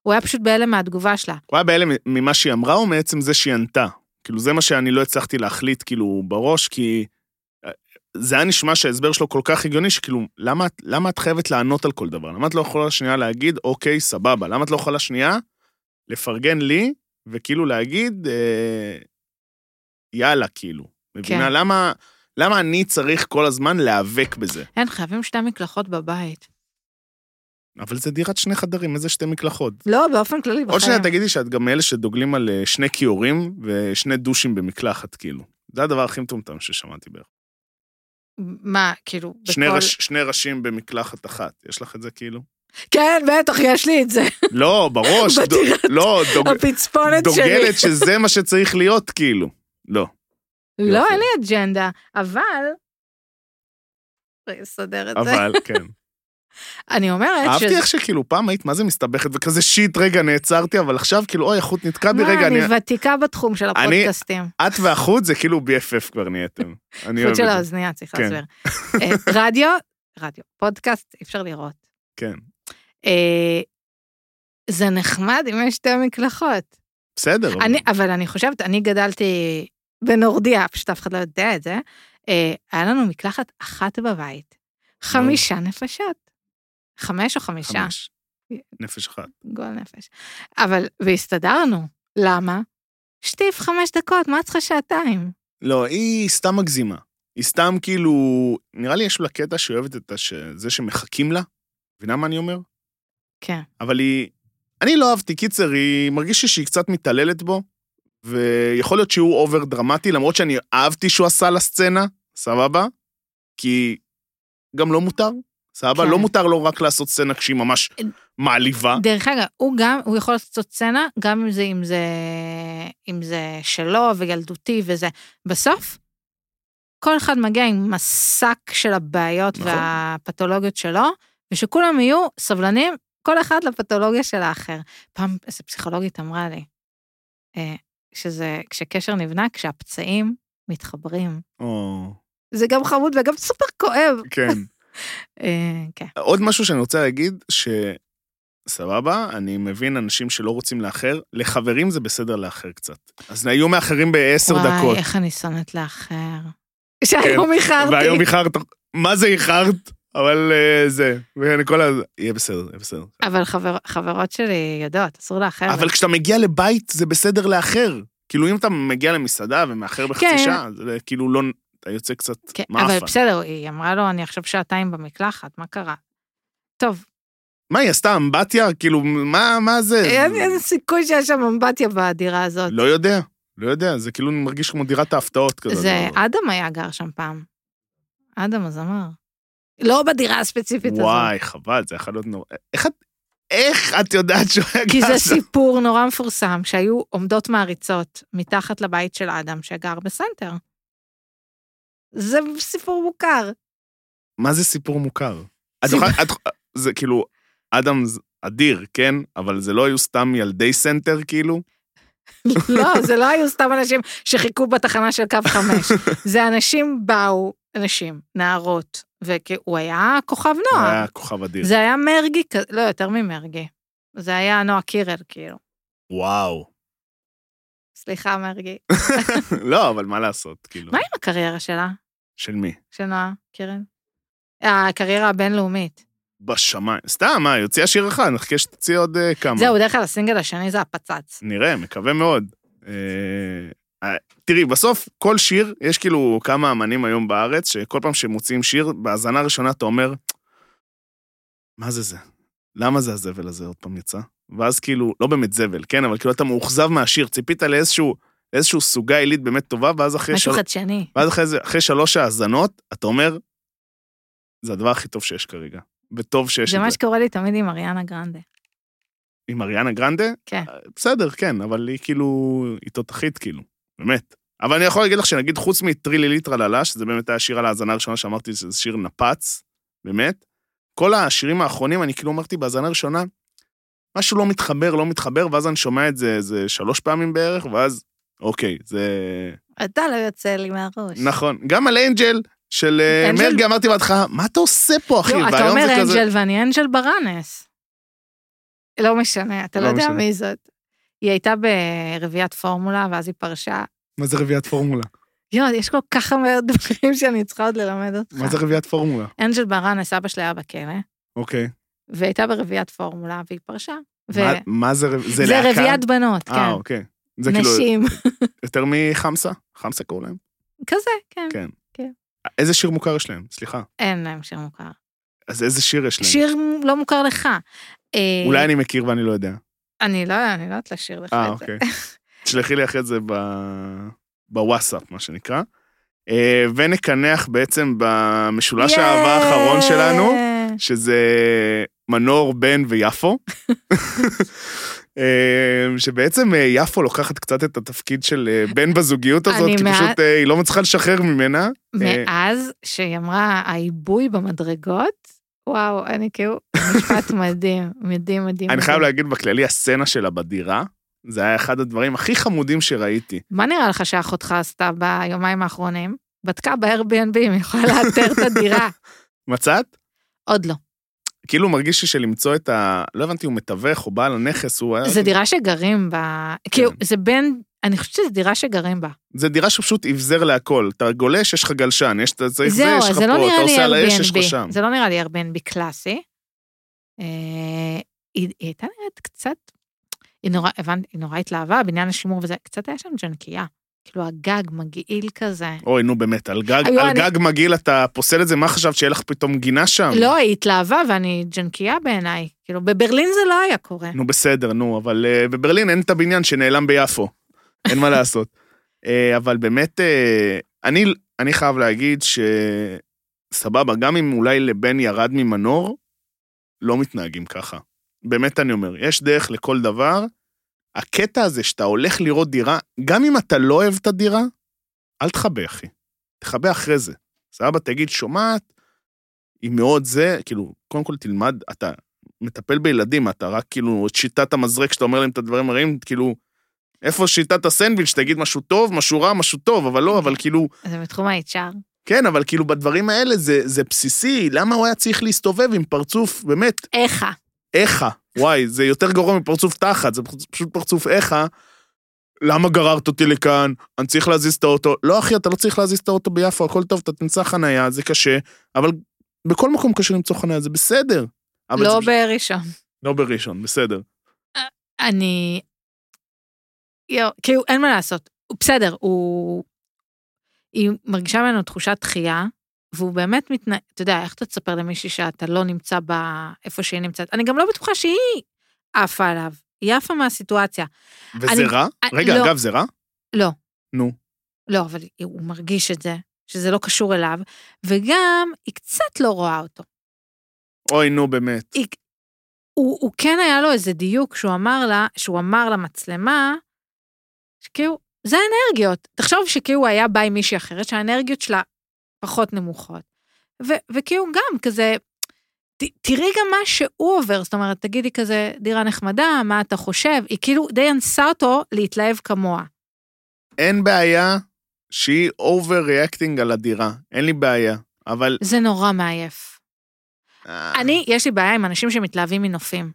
הוא היה פשוט בהלם מהתגובה שלה. הוא היה בהלם ממה שהיא אמרה או מעצם זה שהיא ענתה? כאילו, זה מה שאני לא הצלחתי להחליט, כאילו, בראש, כי... אה, זה היה נשמע שההסבר שלו כל כך הגיוני, שכאילו, למה, את- למה את חייבת לענות על כל דבר? למה את לא יכולה שנייה להגיד, אוקיי, סבבה? למה את לא יכולה שנייה לפרגן לי, וכאילו להגיד, אה, יאללה, כאילו. מבינה? כן. למה, למה אני צריך כל הזמן להיאבק בזה? אין, חייבים שתי מקלחות בבית. אבל זה דירת שני חדרים, איזה שתי מקלחות. לא, באופן כללי, בחיים. עוד שנייה תגידי שאת גם מאלה שדוגלים על אה, שני כיורים ושני דושים במקלחת, כאילו. זה הדבר הכי מטומטם ששמעתי בערך. מה, כאילו, שני, בכל- ראש, שני ראשים במקלחת אחת, יש לך את זה כאילו? כן, בטח, יש לי את זה. לא, בראש, דו- בדירת לא, דוג, הפצפונת שלי. דוגלת שזה מה שצריך להיות, כאילו. לא. לא, יופי. אין לי אג'נדה, אבל... צריך לסדר את זה. אבל, כן. אני אומרת אהבתי שזה... איך שכאילו, פעם היית, מה זה מסתבכת וכזה שיט, רגע, נעצרתי, אבל עכשיו כאילו, אוי, החוט נתקע בי, מה, רגע, אני... אני ותיקה בתחום של אני- הפודקאסטים. את והחוט זה כאילו BFF כבר נהייתם. אני אוהב חוץ את של זה. האוזנייה, צריך כן. להסביר. אה, רדיו, רדיו, פודקאסט, אי אפשר לראות. כן. אה, זה נחמד אם יש שתי מקלחות. בסדר. אבל- אני, אבל אני חושבת, אני גדלתי בנורדיה, פשוט אף אחד לא יודע את זה. אה, היה לנו מקלחת אחת בבית, חמישה נפשות. חמש או חמישה? חמש. נפש אחת. גועל נפש. אבל, והסתדרנו. למה? שטיף חמש דקות, מה את צריכה שעתיים? לא, היא סתם מגזימה. היא סתם כאילו... נראה לי יש לה קטע שהיא אוהבת את הש... זה שמחכים לה. מבינה מה אני אומר? כן. אבל היא... אני לא אהבתי, קיצר, היא מרגישה שהיא קצת מתעללת בו, ויכול להיות שהוא אובר דרמטי, למרות שאני אהבתי שהוא עשה לה סצנה, סבבה? כי גם לא מותר, סבבה? כן. לא מותר לו רק לעשות סצנה כשהיא ממש מעליבה. דרך אגב, הוא גם, הוא יכול לעשות סצנה, גם אם זה, אם זה, אם זה שלו וילדותי וזה. בסוף, כל אחד מגיע עם מסק של הבעיות נכון. נכון. והפתולוגיות שלו, ושכולם יהיו סבלנים, כל אחד לפתולוגיה של האחר. פעם איזו פסיכולוגית אמרה לי, אה, שזה, כשקשר נבנה, כשהפצעים מתחברים. או, זה גם חמוד וגם סופר כואב. כן. אה, כן. עוד משהו שאני רוצה להגיד, ש... סבבה, אני מבין אנשים שלא רוצים לאחר, לחברים זה בסדר לאחר קצת. אז היו מאחרים בעשר דקות, כן, וואי, איך אני שונאת לאחר. שהיום איחרתי. והיום איחרת, מה זה איחרת? אבל אה, זה, ואני כל ה... יהיה בסדר, יהיה בסדר. אבל חבר, חברות שלי יודעות, אסור לאחר. אבל כשאתה מגיע לבית זה בסדר לאחר. כאילו אם אתה מגיע למסעדה ומאחר בחצי כן. שעה, זה כאילו לא... אתה יוצא קצת כן, אבל מאפן. בסדר, היא אמרה לו, אני עכשיו שעתיים במקלחת, מה קרה? טוב, מה, היא עשתה אמבטיה? כאילו, מה, מה זה? אין אין סיכוי שיש שם אמבטיה בדירה הזאת. אה. לא יודע, לא יודע, זה כאילו מרגיש כמו דירת ההפתעות כזה. זה הדבר הזה. אדם היה גר שם פעם. אדם הזמר. לא בדירה הספציפית הזאת. וואי, חבל, זה יכול להיות נורא... איך את... איך את יודעת שהוא היה כי זה שם? סיפור נורא מפורסם, שהיו עומדות מעריצות מתחת לבית של אדם שגר בסנטר. זה סיפור מוכר. מה זה סיפור מוכר? את סיפור- זוכרת, את- זה כאילו, אדם ז- אדיר, כן? אבל זה לא היו סתם ילדי סנטר, כאילו? לא, זה לא היו סתם אנשים שחיכו בתחנה של קו חמש. זה אנשים באו, אנשים, נערות, והוא היה כוכב הוא נוער. היה כוכב אדיר. לא. זה היה מרגי, כ- לא, יותר ממרגי. זה היה נועה קירל, כאילו. וואו. סליחה, מרגי. לא, אבל מה לעשות, כאילו. מה עם הקריירה שלה, של מי? של נועה קירל? הקריירה הבינלאומית. בשמיים. סתם, מה, יוציא השיר אחד, נחכה שתוציא עוד אה, כמה. זהו, בדרך כלל הסינגל השני זה הפצץ. נראה, מקווה מאוד. אה, אה, תראי, בסוף כל שיר, יש כאילו כמה אמנים היום בארץ, שכל פעם שמוציאים שיר, בהאזנה הראשונה אתה אומר, מה זה זה? למה זה הזבל הזה עוד פעם יצא? ואז כאילו, לא באמת זבל, כן? אבל כאילו אתה מאוכזב מהשיר, ציפית לאיזשהו, לאיזשהו סוגה עילית באמת טובה, ואז אחרי, של... משהו חדשני. ואז אחרי, זה, אחרי שלוש האזנות, אתה אומר, זה הדבר הכי טוב שיש כרגע. וטוב שיש זה את מה זה. שקורה לי תמיד עם אריאנה גרנדה. עם אריאנה גרנדה, כן. בסדר, כן, אבל היא כאילו, היא תותחית כאילו, באמת. אבל אני יכול להגיד לך שנגיד, חוץ מטרילי ליטרללה, שזה באמת היה שיר על ההאזנה הראשונה שאמרתי שזה שיר נפץ, באמת, כל השירים האחרונים, אני כאילו אמרתי בהאזנה ראשונה, משהו לא מתחבר, לא מתחבר, ואז אני שומע את זה איזה שלוש פעמים בערך, ואז, אוקיי, זה... אתה לא יוצא לי מהראש. נכון. גם על אנג'ל של אה, אנג'ל- מרגי אמרתי בהתחלה, מה אתה עושה פה, אחי? לא, אתה והיום אומר זה כזה- אנג'ל ואני אנג'ל ברנס. לא משנה, אתה לא לא יודע משנה. מי זאת. היא הייתה ברביעיית פורמולה, ואז היא פרשה. מה זה רביעיית פורמולה? יואו, יש כל כך הרבה דברים שאני צריכה עוד ללמד אותך. מה זה רביעיית פורמולה? אנג'ל ברנס, אבא שלה היה בכלא, אוקיי. והייתה ברביעיית פורמולה, והיא פרשה. ו... מה- מה זה רב- זה זה להקה? רביעיית בנות, אה, כן. אוקיי. זה כאילו נשים. יותר מחמסה? חמסה קראו להם? כזה, כן. כן. כן. איזה שיר מוכר יש להם? סליחה. אין להם שיר מוכר. אז איזה שיר יש להם? שיר לא מוכר לך. אה, אולי אני מכיר ואני לא יודע. אני לא אני לא יודעת לשיר לך אה, את זה. אוקיי. תשלחי לי אחרי זה ב... בוואטסאפ, מה שנקרא. אה, ונקנח בעצם במשולש האהבה לא האחרון שלנו, יאה. שזה מנור, בן ויפו. אה, שבעצם אה, יפו לוקחת קצת את התפקיד של אה, בן בזוגיות הזאת, אני כי מעט- פשוט אה, היא לא מצליחה לשחרר ממנה. מאז שהיא אמרה, העיבוי במדרגות, וואו, אני כאילו, משפט מדהים, מדהים, מדהים. אני חייב מדהים. להגיד בכללי, הסצנה שלה בדירה, זה היה אחד הדברים הכי חמודים שראיתי. מה נראה לך שאחותך עשתה ביומיים האחרונים? בדקה ב-Airbnb אם היא יכולה לאתר את הדירה. מצאת? עוד לא. כאילו מרגיש לי שלמצוא את ה... לא הבנתי, הוא מתווך או בעל הנכס, הוא היה... זו דירה שגרים בה, כאילו, כן. זה בין, אני חושבת שזו דירה שגרים בה. זה דירה שפשוט אבזר להכל. אתה גולש, יש לך גלשן, יש אתה צריך זה, זהו, יש לך אז זה לא פה, אתה נראה לי עושה על האש, יש לך Airbnb. שם. זה לא נראה לי Airbnb קלאסי. אה, היא היא הייתה נראית קצת, היא נורא, הבנתי, היא נורא התלהבה, בניין השימור וזה, קצת היה שם ג'נקייה. כאילו הגג מגעיל כזה. אוי, נו באמת, על גג, היו, על אני- גג מגעיל אתה פוסל את זה, מה חשבת, שיהיה לך פתאום גינה שם? לא, היא התלהבה ואני ג'נקייה בעיניי. כאילו, בברלין זה לא היה קורה. נו בסדר, נו, אבל אה, בברלין אין את הבניין שנעלם ביפו. אין מה לעשות. אה, אבל באמת, אה, אני, אני חייב להגיד שסבבה, גם אם אולי לבן ירד ממנור, לא מתנהגים ככה. באמת אני אומר, יש דרך לכל דבר. הקטע הזה שאתה הולך לראות דירה, גם אם אתה לא אוהב את הדירה, אל תכבה, אחי. תכבה אחרי זה. סבבה, תגיד, שומעת, היא מאוד זה, כאילו, קודם כל תלמד, אתה מטפל בילדים, אתה רק כאילו, את שיטת המזרק שאתה אומר להם את הדברים הרעים, כאילו, איפה שיטת הסנדוויץ', תגיד משהו טוב, משהו רע, משהו טוב, אבל לא, אבל כאילו, זה בתחום ה-HR. כן, אבל כאילו, בדברים האלה זה, זה בסיסי, למה הוא היה צריך להסתובב עם פרצוף, באמת, איכה. איכה, וואי, זה יותר גרוע מפרצוף תחת, זה פרצ- פשוט פרצוף איכה. למה גררת אותי לכאן? אני צריך להזיז את האוטו. לא, אחי, אתה לא צריך להזיז את האוטו ביפו, הכל טוב, אתה תמצא חנייה, זה קשה, אבל בכל מקום קשה למצוא חנייה, זה בסדר. אבל זה לא פשוט- בראשון. לא בראשון, בסדר. אני... יו, כאילו, אין מה לעשות. הוא בסדר, הוא... היא מרגישה ממנו תחושת דחייה, והוא באמת מתנהג, אתה יודע, איך אתה תספר למישהי שאתה לא נמצא ב... איפה שהיא נמצאת? אני גם לא בטוחה שהיא עפה עליו, היא עפה מהסיטואציה. וזה אני- רע? אני- רגע, לא. אגב, זה רע? לא. נו. לא, אבל הוא מרגיש את זה, שזה לא קשור אליו, וגם היא קצת לא רואה אותו. אוי, נו, באמת. היא, הוא, הוא כן היה לו איזה דיוק שהוא אמר לה, שהוא אמר למצלמה, שכאילו, זה האנרגיות. תחשוב שכאילו הוא היה בא עם מישהי אחרת, שהאנרגיות שלה פחות נמוכות. ו, וכאילו גם כזה, ת, תראי גם מה שהוא עובר, זאת אומרת, תגידי כזה, דירה נחמדה, מה אתה חושב? היא כאילו די אנסה אותו להתלהב כמוה. אין בעיה שהיא overreacting על הדירה, אין לי בעיה, אבל... זה נורא מעייף. אה, אני, יש לי בעיה עם אנשים שמתלהבים מנופים.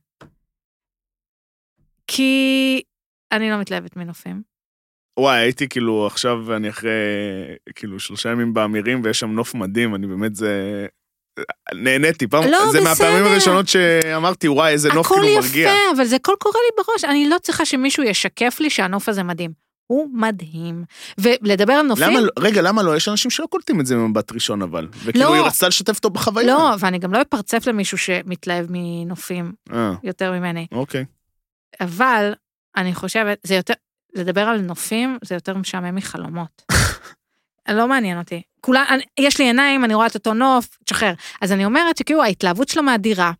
כי אני לא מתלהבת מנופים. וואי, הייתי כאילו, עכשיו אני אחרי כאילו שלושה ימים באמירים, ויש שם נוף מדהים, אני באמת, זה... נהניתי, פעם, לא, זה בסדר. מהפעמים הראשונות שאמרתי, וואי, איזה נוף הכל כאילו יפה, מרגיע. אבל זה הכל קורה לי בראש. אני לא צריכה שמישהו ישקף לי שהנוף הזה מדהים. הוא מדהים. ולדבר על נופים... למה, לא- רגע, למה לא? יש אנשים שלא קולטים את זה ממבט ראשון, אבל. וכאילו, לא. היא רצתה לשתף אותו בחוויה. לא, ואני גם לא אפרצף למישהו שמתלהב מנופים אה, יותר ממני. אוקיי. אבל אני חושבת, זה יותר... לדבר על נופים זה יותר משעמם מחלומות. לא מעניין אותי. כולה, אני, יש לי עיניים, אני רואה את אותו נוף, תשחרר. אז אני אומרת שכאילו ההתלהבות שלו מהדירה,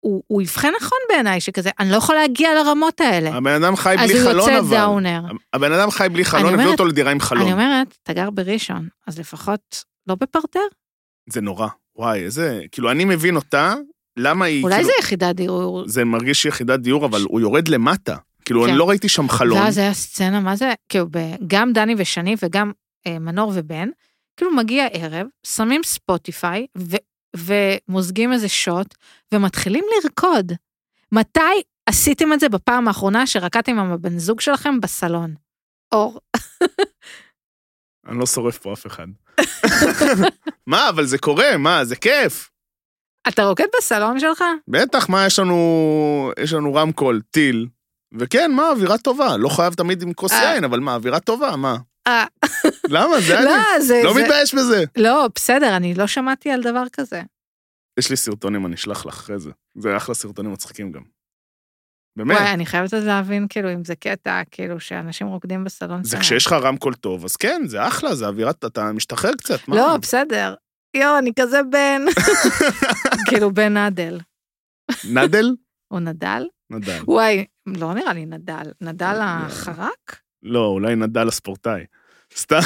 הוא, הוא אבחן נכון בעיניי, שכזה, אני לא יכול להגיע לרמות האלה. הבן אדם חי אה. אז אה, בלי הוא חלון, יוצא אבל. דאונר. הבן אדם חי בלי חלון, אני הביאו אומרת- אותו לדירה עם אני חלון. אומרת, אתה גר בראשון, אז לפחות לא בפרטר. זה נורא. וואי, איזה... כאילו, אני מבין אותה, למה היא... אולי כאילו, זה יחידת דיור. זה מרגיש יחידת דיור, אבל הוא יורד למטה. כאילו, כן. אני לא ראיתי שם חלון. לא, זה היה סצנה, מה זה, כאילו, ב- גם דני ושני וגם אה, מנור ובן, כאילו מגיע ערב, שמים ספוטיפיי ו- ומוזגים איזה שוט ומתחילים לרקוד. מתי עשיתם את זה בפעם האחרונה שרקדתם עם הבן זוג שלכם בסלון? אור, אני לא שורף פה אף אחד. מה, אבל זה קורה, מה, זה כיף. אתה רוקד בסלון שלך? בטח, מה, יש לנו, יש לנו רמקול, טיל. וכן, מה, אווירה טובה. לא חייב תמיד עם כוס אה. יין, אבל מה, אווירה טובה, מה? אה. למה, זה אני. לא, זה... לא זה- מתבייש בזה. לא, בסדר, אני לא שמעתי על דבר כזה. יש לי סרטונים, אני אשלח לך אחרי זה. זה אחלה סרטונים מצחיקים גם. באמת. וואי, אני חייבת אז להבין, כאילו, אם זה קטע, כאילו, שאנשים רוקדים בסלון זה שלהם. כשיש לך רמקול טוב, אז כן, זה אחלה, זה אווירה, אתה משתחרר קצת, מה? לא, בסדר. יואו, אני כזה בן. כאילו, בן נדל. נדל? או נדל? נדל. וואי, לא נראה לי נדל. נדל אה. החרק? לא, אולי נדל הספורטאי. סתם.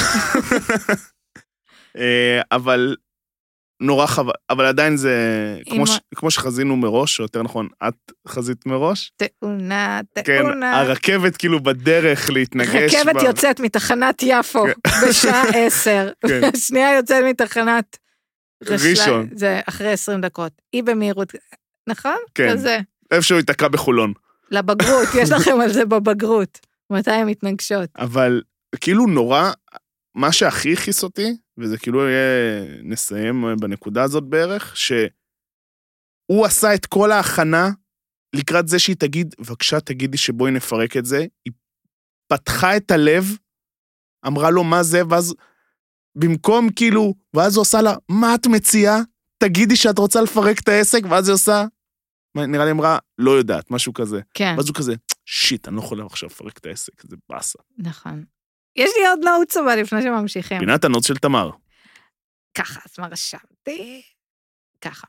אה, אבל נורא חבל, אבל עדיין זה, כמו אם- ש- כמו שחזינו מראש, או יותר נכון, את חזית מראש, תאונה, כן, תאונה. הרכבת כאילו בדרך להתנגש בה. רכבת יוצאת מתחנת יפו בשעה עשר. כן. השנייה יוצאת מתחנת... רשל- ראשון. זה אחרי 20 דקות. היא במהירות, נכון? כן. כזה. איפשהו ייתקע בחולון. לבגרות, יש לכם על זה בבגרות. מתי הן מתנגשות? אבל כאילו נורא, מה שהכי הכעיס אותי, וזה כאילו יהיה, נסיים בנקודה הזאת בערך, שהוא עשה את כל ההכנה לקראת זה שהיא תגיד, בבקשה תגידי שבואי נפרק את זה. היא פתחה את הלב, אמרה לו מה זה, ואז במקום כאילו, ואז הוא עושה לה, מה את מציעה? תגידי שאת רוצה לפרק את העסק, ואז היא עושה, מה, נראה לי אמרה, לא יודעת, משהו כזה. כן, ואז הוא כזה, שיט, אני לא יכול עכשיו לפרק את העסק, זה באסה. נכון. יש לי עוד נעוץ אבל לפני שממשיכים. פינת הנוץ של תמר. ככה, אז מה רשמתי? ככה.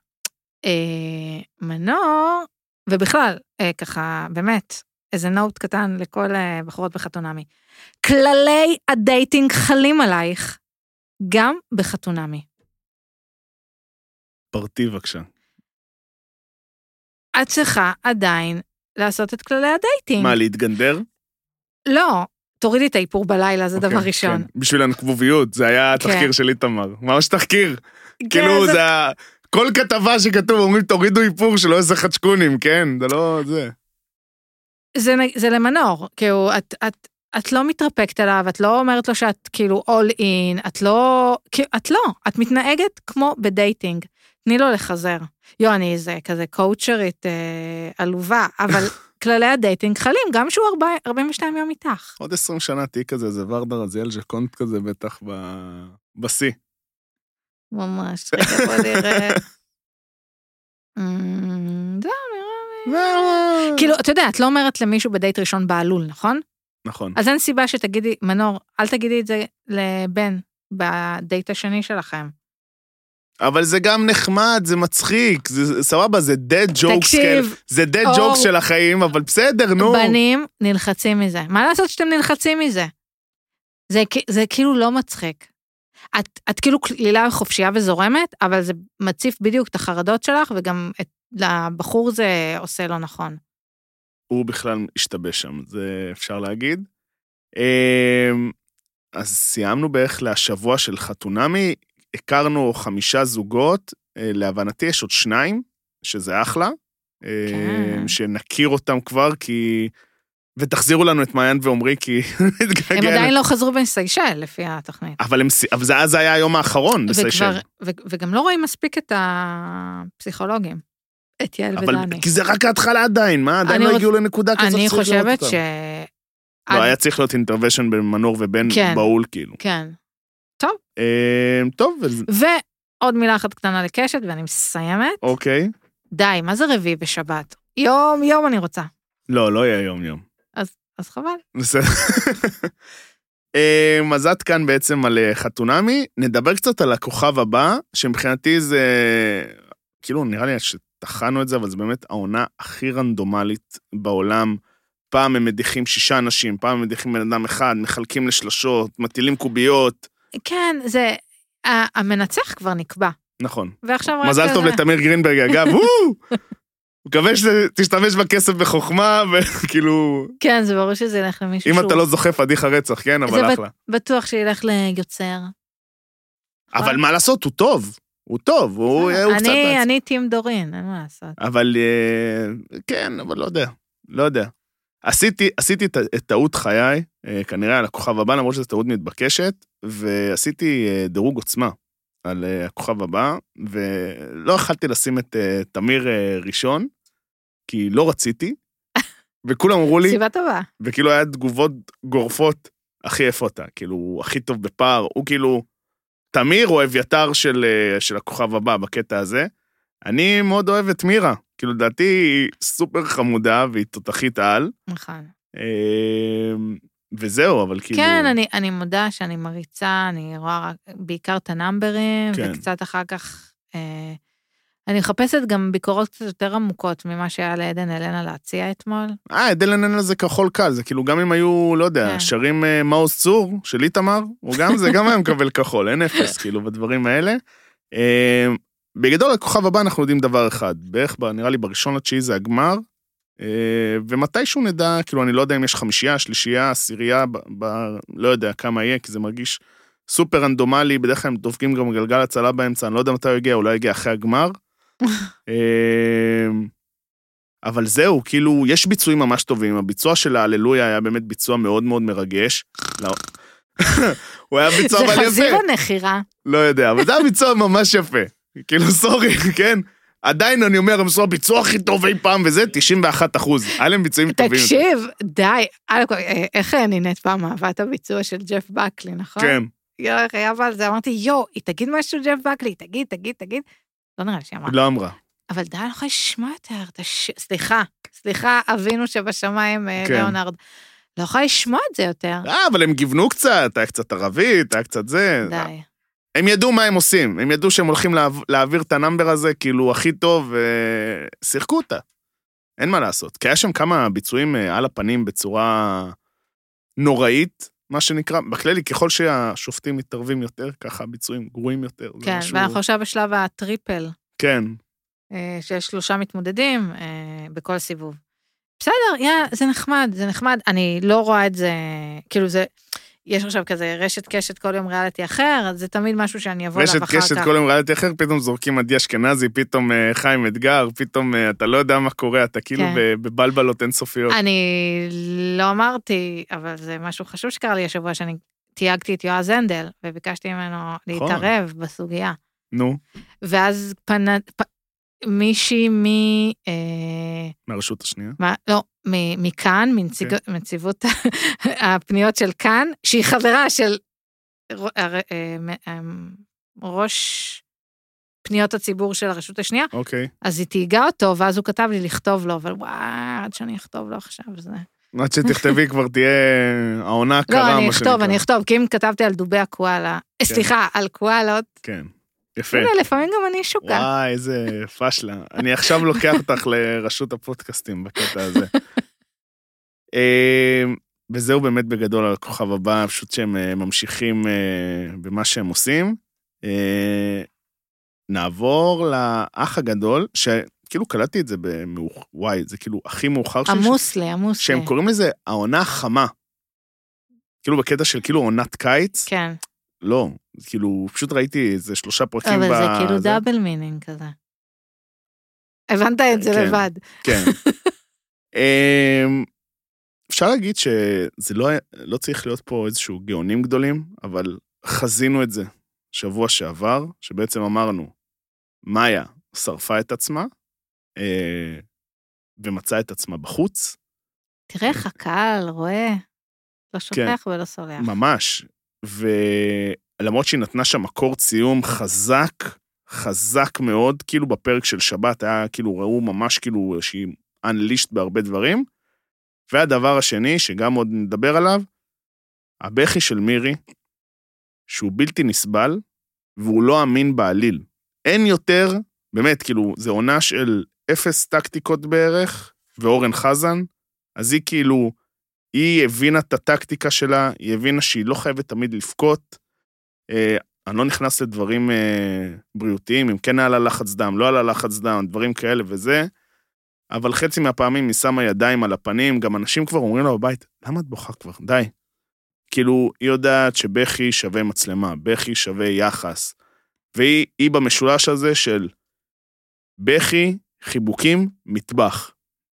אה, מנור, ובכלל, אה, ככה, באמת, איזה נוט קטן לכל אה, בחורות בחתונמי. כללי הדייטינג חלים עלייך, גם בחתונמי. פרטי בבקשה. את צריכה עדיין לעשות את כללי הדייטינג. מה, להתגנדר? לא, תורידי את האיפור בלילה, זה דבר אוקיי, ראשון. כן. כן. בשביל הנקבוביות, זה היה התחקיר של איתמר. ממש תחקיר. כאילו, זה- זה ה... כל כתבה שכתוב, אומרים, תורידו איפור שלא איזה חדשקונים, כן? זה לא זה. זה, נ- זה למנור, כאילו, את, את, את לא מתרפקת עליו, את לא אומרת לו שאת כאילו all in, את לא, כאילו, את לא, את מתנהגת כמו בדייטינג. תני לו לחזר. יו, אני איזה כזה קואוצ'רית אה, עלובה, אבל כללי הדייטינג חלים, גם שהוא ארבע, 42 יום איתך. עוד 20 שנה תהיי כזה, איזה ורדה רזיאל ז'קונט כזה, בטח ב- בשיא. ממש, רגע, בוא נראה. אמ, זהו, נראה. כאילו, אתה יודע, את לא אומרת למישהו בדייט ראשון בעלול, נכון? נכון. אז אין סיבה שתגידי, מנור, אל תגידי את זה לבן בדייט השני שלכם. אבל זה גם נחמד, זה מצחיק, זה זה- סבבה, זה dead jokes כאלה. תקשיב, זה dead אור. jokes של החיים, אבל בסדר, נו. בנים נלחצים מזה. מה לעשות שאתם נלחצים מזה? זה, כ- זה כאילו לא מצחיק. את, את כאילו קלילה חופשייה וזורמת, אבל זה מציף בדיוק את החרדות שלך, וגם את, לבחור זה עושה לא נכון. הוא בכלל השתבש שם, זה אפשר להגיד. אמ, אז סיימנו בערך לשבוע של חתונמי, הכרנו חמישה זוגות, אה, להבנתי יש עוד שניים, שזה אחלה, אמ, כן. שנכיר אותם כבר, כי... ותחזירו לנו את מעיין ועומרי, כי הם נתגעגע. עדיין לא חזרו מסיישל, לפי התוכנית. אבל הם סי- אבל זה אז היה היום האחרון בסיישל. וכבר- ו- וגם לא רואים מספיק את הפסיכולוגים, את יעל אבל ודני. כי זה רק ההתחלה עדיין, מה? עדיין אני לא רוצ- הגיעו לנקודה כזאת אני שצריך לראות חושבת אותם. ש... לא, עד- היה צריך להיות אינטרוושן בין מנור ובין כן. בהול, כאילו. כן. אמ, טוב, אז- ועוד מילה אחת קטנה לקשת, ואני מסיימת. אוקיי. די, מה זה רביעי בשבת? יום, יום אני רוצה. לא, לא יהיה יום-יום. אז חבל. בסדר. אמ, אז עד כאן בעצם על אה, חתונמי. נדבר קצת על הכוכב הבא, שמבחינתי זה... כאילו, נראה לי שטחנו את זה, אבל זה באמת העונה הכי רנדומלית בעולם. פעם הם מדיחים שישה אנשים, פעם הם מדיחים בן אדם אחד, מחלקים לשלשות, מטילים קוביות. כן, זה... ה- המנצח כבר נקבע, נכון. ועכשיו רק... מזל טוב כזה- לתמיר גרינברג, אגב, וואו! מקווה שתשתמש בכסף בחוכמה, כאילו, וכאילו, כן, זה ברור שזה ילך למישהו אם שהוא... אתה לא זוכה פדיחה רצח, כן? אבל בת- אחלה. בטוח שילך ליוצר. אבל מה לעשות, הוא טוב. הוא טוב, הוא בסדר. הוא קצת... אה? אני, מעצ- אני טים דורין, אין מה לעשות. אבל אה, כן, אבל לא יודע. לא יודע. עשיתי, עשיתי את ה- את טעות חיי, אה, כנראה על הכוכב הבא, למרות שזו טעות מתבקשת, ועשיתי אה, דירוג עוצמה על אה, הכוכב הבא, ולא יכלתי לשים את אה, תמיר אה, ראשון, כי לא רציתי, וכולם אמרו לי, סיבה טובה. וכאילו היה תגובות גורפות, אחי איפה אתה? כאילו, הוא הכי טוב בפער, הוא כאילו תמיר או אביתר של, אה, של הכוכב הבא בקטע הזה. אני מאוד אוהב את מירה, כאילו לדעתי היא סופר חמודה והיא תותחית על, נכון. אה, וזהו, אבל כאילו... כן, אני, אני מודה שאני מריצה, אני רואה רק, בעיקר את הנאמברים, כן. וקצת אחר כך... אה, אני מחפשת גם ביקורות קצת יותר עמוקות ממה שהיה לעדן אלנה להציע אתמול. אה, את אלן אלן זה כחול קל, זה כאילו גם אם היו, לא יודע, כן. שרים אה, מעוז צור של איתמר, הוא גם זה, גם היה מקבל כחול, אין אפס, כאילו, בדברים האלה. אה, בגדול, הכוכב הבא אנחנו יודעים דבר אחד, בערך, ב- נראה לי, בראשון לתשיעי זה הגמר, אה, ומתישהו נדע, כאילו, אני לא יודע אם יש חמישייה, שלישייה, עשירייה, ב- ב- לא יודע כמה יהיה, כי זה מרגיש סופר רנדומלי, בדרך כלל הם דופקים גם גלגל הצלה באמצע, אני לא יודע מתי הוא יגיע, אולי הוא יגיע אחרי הגמר. אה, אבל זהו, כאילו, יש ביצועים ממש טובים. הביצוע של ההללויה היה באמת ביצוע מאוד מאוד מרגש. לא. הוא היה ביצוע זה אבל חזיר יפה. או נחירה? לא יודע, אבל זה היה ביצוע ממש יפה. כאילו, סורי, כן? עדיין אני אומר, הם עשו הביצוע הכי טוב אי פעם, וזה 91 אחוז. היה להם ביצועים טובים. יותר. תקשיב, די. אלכו, אה, איך נינט פעם אהבה את הביצוע של ג'ף בקלי, נכון? כן. יואו, איך היה ועל זה, אמרתי, יואו, היא תגיד משהו, ג'ף בקלי, תגיד, תגיד, תגיד. לא נראה לי שהיא אמרה. לא אמרה. אבל די, אני לא יכולה לשמוע יותר את הש... סליחה, סליחה, אבינו שבשמיים, אה, כן. ליאונרד. לא יכולה לשמוע את זה יותר. אה, אבל הם גיוונו קצת, היה קצת ערבית, היה קצת זה. די. הם ידעו מה הם עושים, הם ידעו שהם הולכים להעב- להעביר את הנאמבר הזה, כאילו, הכי טוב, ושיחקו אותה. אין מה לעשות. כי היה שם כמה ביצועים אה, על הפנים בצורה נוראית, מה שנקרא. בכללי, ככל שהשופטים מתערבים יותר, ככה הביצועים גרועים יותר. זה כן, משהו- ואנחנו עכשיו בשלב הטריפל, כן, אה, שיש שלושה מתמודדים אה, בכל סיבוב. בסדר, יא, זה נחמד, זה נחמד. אני לא רואה את זה, כאילו זה, יש עכשיו כזה רשת קשת כל יום ריאליטי אחר, אז זה תמיד משהו שאני אבוא אליו רשת אחר כך. קשת כל יום ריאליטי אחר, פתאום זורקים עדי אשכנזי, פתאום אה, חיים אתגר, פתאום אה, אתה לא יודע מה קורה, אתה כאילו כן. אה, ב- בבלבלות אינסופיות. אני לא אמרתי, אבל זה משהו חשוב שקרה לי השבוע, שאני תייגתי את יועז הנדל, וביקשתי ממנו להתערב בסוגיה. נו, ואז פנה... פ... מישהי מ... אה, מהרשות השנייה. מה, לא, מ- מכאן, מנציג- מנציבות הפניות של כאן, שהיא חברה של ר- הר- אה, מ- אה, ראש פניות הציבור של הרשות השנייה, אוקיי. אז היא תהיגה אותו, ואז הוא כתב לי לכתוב לו, אבל וואי, עד שאני אכתוב לו עכשיו, זה... עד שתכתבי כבר תהיה העונה הקרה, לא, מה שנקרא. אני אכתוב, אני אכתוב, כי אם כתבתי על דובי הקואלה, אה, סליחה, על קואלות, כן. לא יפה. הנה, לפעמים גם אני שוקה. וואי, איזה פשלה. אני עכשיו לוקח אותך לרשות הפודקאסטים בקטע הזה. אה, וזהו באמת בגדול על הכוכב הבא, פשוט שהם אה, ממשיכים אה, במה שהם עושים. אה, נעבור לאח הגדול, שכאילו קלטתי את זה במאוח... וואי, זה כאילו הכי מאוחר שהם- המוסלה, המוסלה. שהם קוראים לזה העונה החמה. כאילו בקטע של כאילו עונת קיץ, כן, לא, כאילו פשוט ראיתי איזה שלושה פרקים אבל זה כן, ב- כאילו דאבל מינינג כזה. הבנת את זה כן. לבד. כן. אמ, אפשר להגיד שזה לא, היה- לא צריך להיות פה איזשהו גאונים גדולים, אבל חזינו את זה שבוע שעבר, שבעצם אמרנו, מאיה שרפה את עצמה, אה, ומצאה את עצמה בחוץ, תראה איך הקהל רואה, כן. לא שוכח ולא סולח. ממש. ולמרות שהיא נתנה שם מקור ציום חזק, חזק מאוד, כאילו בפרק של שבת היה, כאילו ראו ממש כאילו שהיא unleashed בהרבה דברים. והדבר השני, שגם עוד נדבר עליו, הבכי של מירי, שהוא בלתי נסבל, והוא לא אמין בעליל. אין יותר, באמת, כאילו, זה עונה של אפס טקטיקות בערך, ואורן חזן, אז היא כאילו, היא הבינה את הטקטיקה שלה, היא הבינה שהיא לא חייבת תמיד לבכות. אה, אני לא נכנס לדברים אה, בריאותיים, אם כן היה לה לחץ דם, לא היה לה לחץ דם, דברים כאלה וזה, אבל חצי מהפעמים היא שמה ידיים על הפנים, גם אנשים כבר אומרים לה בבית, למה את בוכה כבר? די. כאילו, היא יודעת שבכי שווה מצלמה, בכי שווה יחס. והיא היא במשולש הזה של בכי, חיבוקים, מטבח.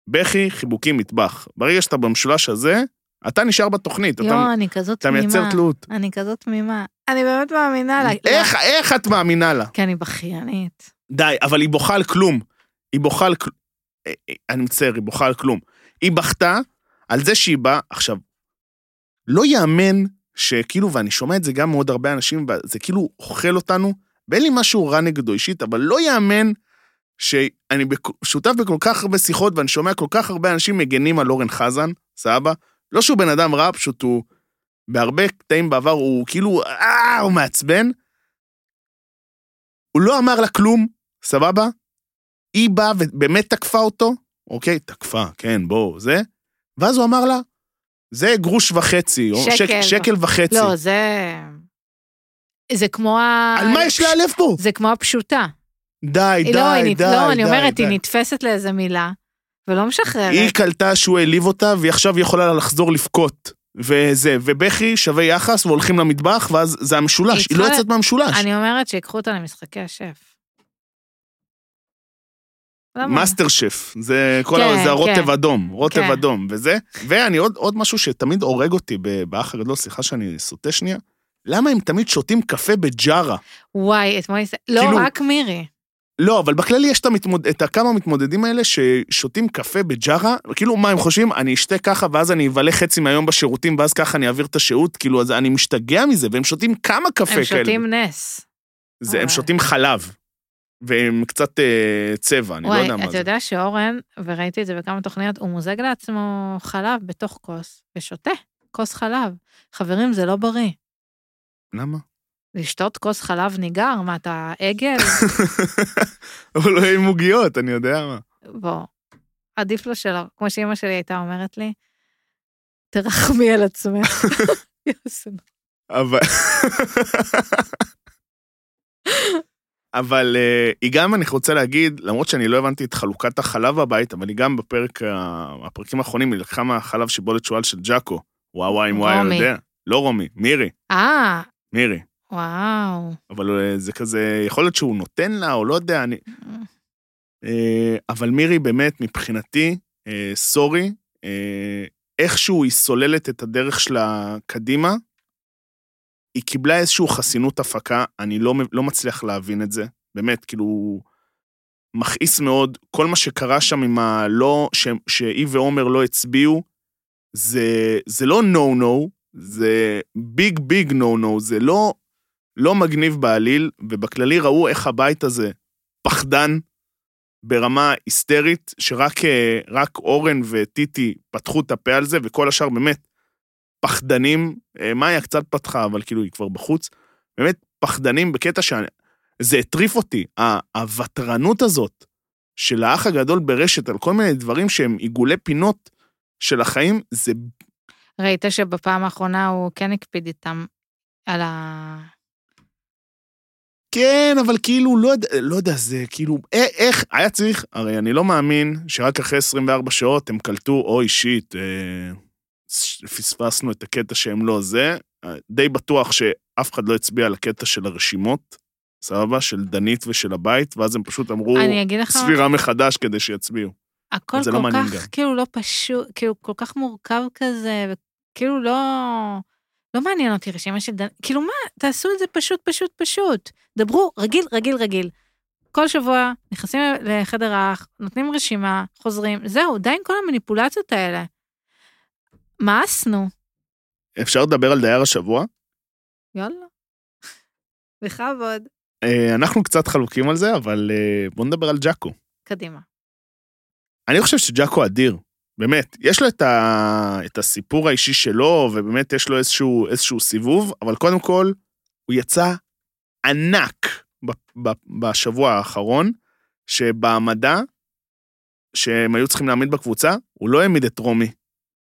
בכי, חיבוקים, מטבח. ברגע שאתה במשולש הזה, אתה נשאר בתוכנית, אתה, יואו, אני כזאת אתה מייצר תמימה. תלות. אני כזאת תמימה. אני באמת מאמינה לה. לא, איך, איך את מאמינה לה? כי אני בכיינית. די, אבל היא בוכה על כלום. היא בוכה על כלום. אה, אני מצטער, היא בוכה על כלום. היא בכתה על זה שהיא באה, עכשיו, לא ייאמן שכאילו, ואני שומע את זה גם מעוד הרבה אנשים, וזה כאילו אוכל אותנו, ואין לי משהו רע נגדו אישית, אבל לא ייאמן שאני בכ- שותף בכל כך הרבה שיחות, ואני שומע כל כך הרבה אנשים מגנים על אורן חזן, סבא? לא שהוא בן אדם רע, פשוט הוא... בהרבה קטעים בעבר הוא כאילו, אה, הוא מעצבן. הוא לא אמר לה כלום, סבבה? היא באה ובאמת תקפה אותו, אוקיי, תקפה, כן, בואו, זה. ואז הוא אמר לה, זה גרוש וחצי, או שק, שקל. שקל וחצי. לא, זה... זה כמו ה... על מה יש להלב פה? זה כמו הפשוטה. די, די, היא לא, היא די, נת- די. לא, אני אומרת, די. היא נתפסת לאיזה מילה, ולא היא משחררת. קלטה שהוא העליב אותה, והיא עכשיו יכולה לחזור לבכות. וזה, ובכי שווה יחס, והולכים למטבח, ואז זה היא המשולש. היא לא צריכה- יוצאת מהמשולש. אני אומרת שיקחו אותה למשחקי השף. למה? מאסטר שף, זה כל לא כן, ה... זה הרוטב כן. אדום, רוטב כן. אדום, וזה. ואני עוד, עוד משהו שתמיד הורג אותי ב- באח הגדול, סליחה שאני סוטה שנייה, למה הם תמיד שותים קפה בג'ארה? וואי, אתמול... הס- לא, כאילו- רק מירי. לא, אבל בכללי יש את, המתמוד... את הכמה מתמודדים האלה ששותים קפה בג'ארה, כאילו מה הם חושבים, אני אשתה ככה ואז אני אבלה חצי מהיום בשירותים ואז ככה אני אעביר את השהות, כאילו אז אני משתגע מזה, והם שותים כמה קפה הם כאלה. שותים אה. נס. זה, הם וואי. שותים חלב, והם קצת אה, צבע, אני לא וואי, יודע מה אתה זה. יודע שאורן, וראיתי את זה בכמה תוכניות, הוא מוזג לעצמו חלב בתוך כוס, ושותה כוס חלב. חברים, זה לא בריא. למה? לשתות כוס חלב ניגר, מה אתה עגל? אבל לא יהיו עוגיות, אני יודע מה. בוא, עדיף לו שלא. כמו שאימא שלי הייתה אומרת לי, תרחמי על עצמך. יוסי. אבל... אבל אה, היא גם, אני רוצה להגיד, למרות שאני לא הבנתי את חלוקת החלב בבית, אבל היא גם בפרק, ה- הפרקים האחרונים, היא לקחה מהחלב שיבולת שועל של ג'אקו. וואו וואי אם וואי, רומי. יודע. לא רומי, מירי, אה, מירי. וואו. אבל אה, זה כזה, יכול להיות שהוא נותן לה, או לא יודע, אני... אה, אבל מירי באמת, מבחינתי, אה, סורי, אה, איכשהו היא סוללת את הדרך שלה קדימה, היא קיבלה איזושהי חסינות הפקה, אני לא, מב- לא מצליח להבין את זה, באמת, כאילו, מכעיס מאוד, כל מה שקרה שם עם הלא, ש, שהיא ועומר לא הצביעו, זה, זה לא נו-נו, זה ביג ביג נו-נו, זה לא לא מגניב בעליל, ובכללי ראו איך הבית הזה פחדן ברמה היסטרית, שרק אה, רק אורן וטיטי פתחו את הפה על זה, וכל השאר באמת פחדנים. אה, מאיה קצת פתחה, אבל כאילו היא כבר בחוץ. באמת פחדנים בקטע שזה הטריף אותי, ה- הוותרנות הזאת של האח הגדול ברשת על כל מיני דברים שהם עיגולי פינות של החיים, זה ראית שבפעם האחרונה הוא כן הקפיד איתם על ה... כן, אבל כאילו, לא, יודע- לא יודע, זה כאילו, אה, איך, היה צריך, הרי אני לא מאמין שרק אחרי 24 שעות הם קלטו, אוי, שיט, אה, ש- פספסנו את הקטע שהם לא זה. אה, די בטוח שאף אחד לא הצביע על הקטע של הרשימות, סבבה? של דנית ושל הבית, ואז הם פשוט אמרו, אני אגיד לך, סבירה מחדש כדי שיצביעו. הכל זה כל לא מעניין גם. כך, כאילו לא פשוט, כאילו כל כך מורכב כזה, וכאילו לא... לא מעניין אותי רשימה של דן... כאילו מה, תעשו את זה פשוט, פשוט, פשוט. דברו, רגיל, רגיל, רגיל. כל שבוע נכנסים לחדר האח, נותנים רשימה, חוזרים, זהו, די עם כל המניפולציות האלה. מאסנו, אפשר לדבר על דייר השבוע? יאללה. בכבוד. אה, אנחנו קצת חלוקים על זה, אבל אה, בואו נדבר על ג'אקו. קדימה. אני חושב שג'אקו אדיר, באמת. יש לו את, ה... את הסיפור האישי שלו, ובאמת יש לו איזשהו, איזשהו סיבוב, אבל קודם כל, הוא יצא ענק ב... ב... בשבוע האחרון, שבהעמדה שהם היו צריכים להעמיד בקבוצה, הוא לא העמיד את רומי.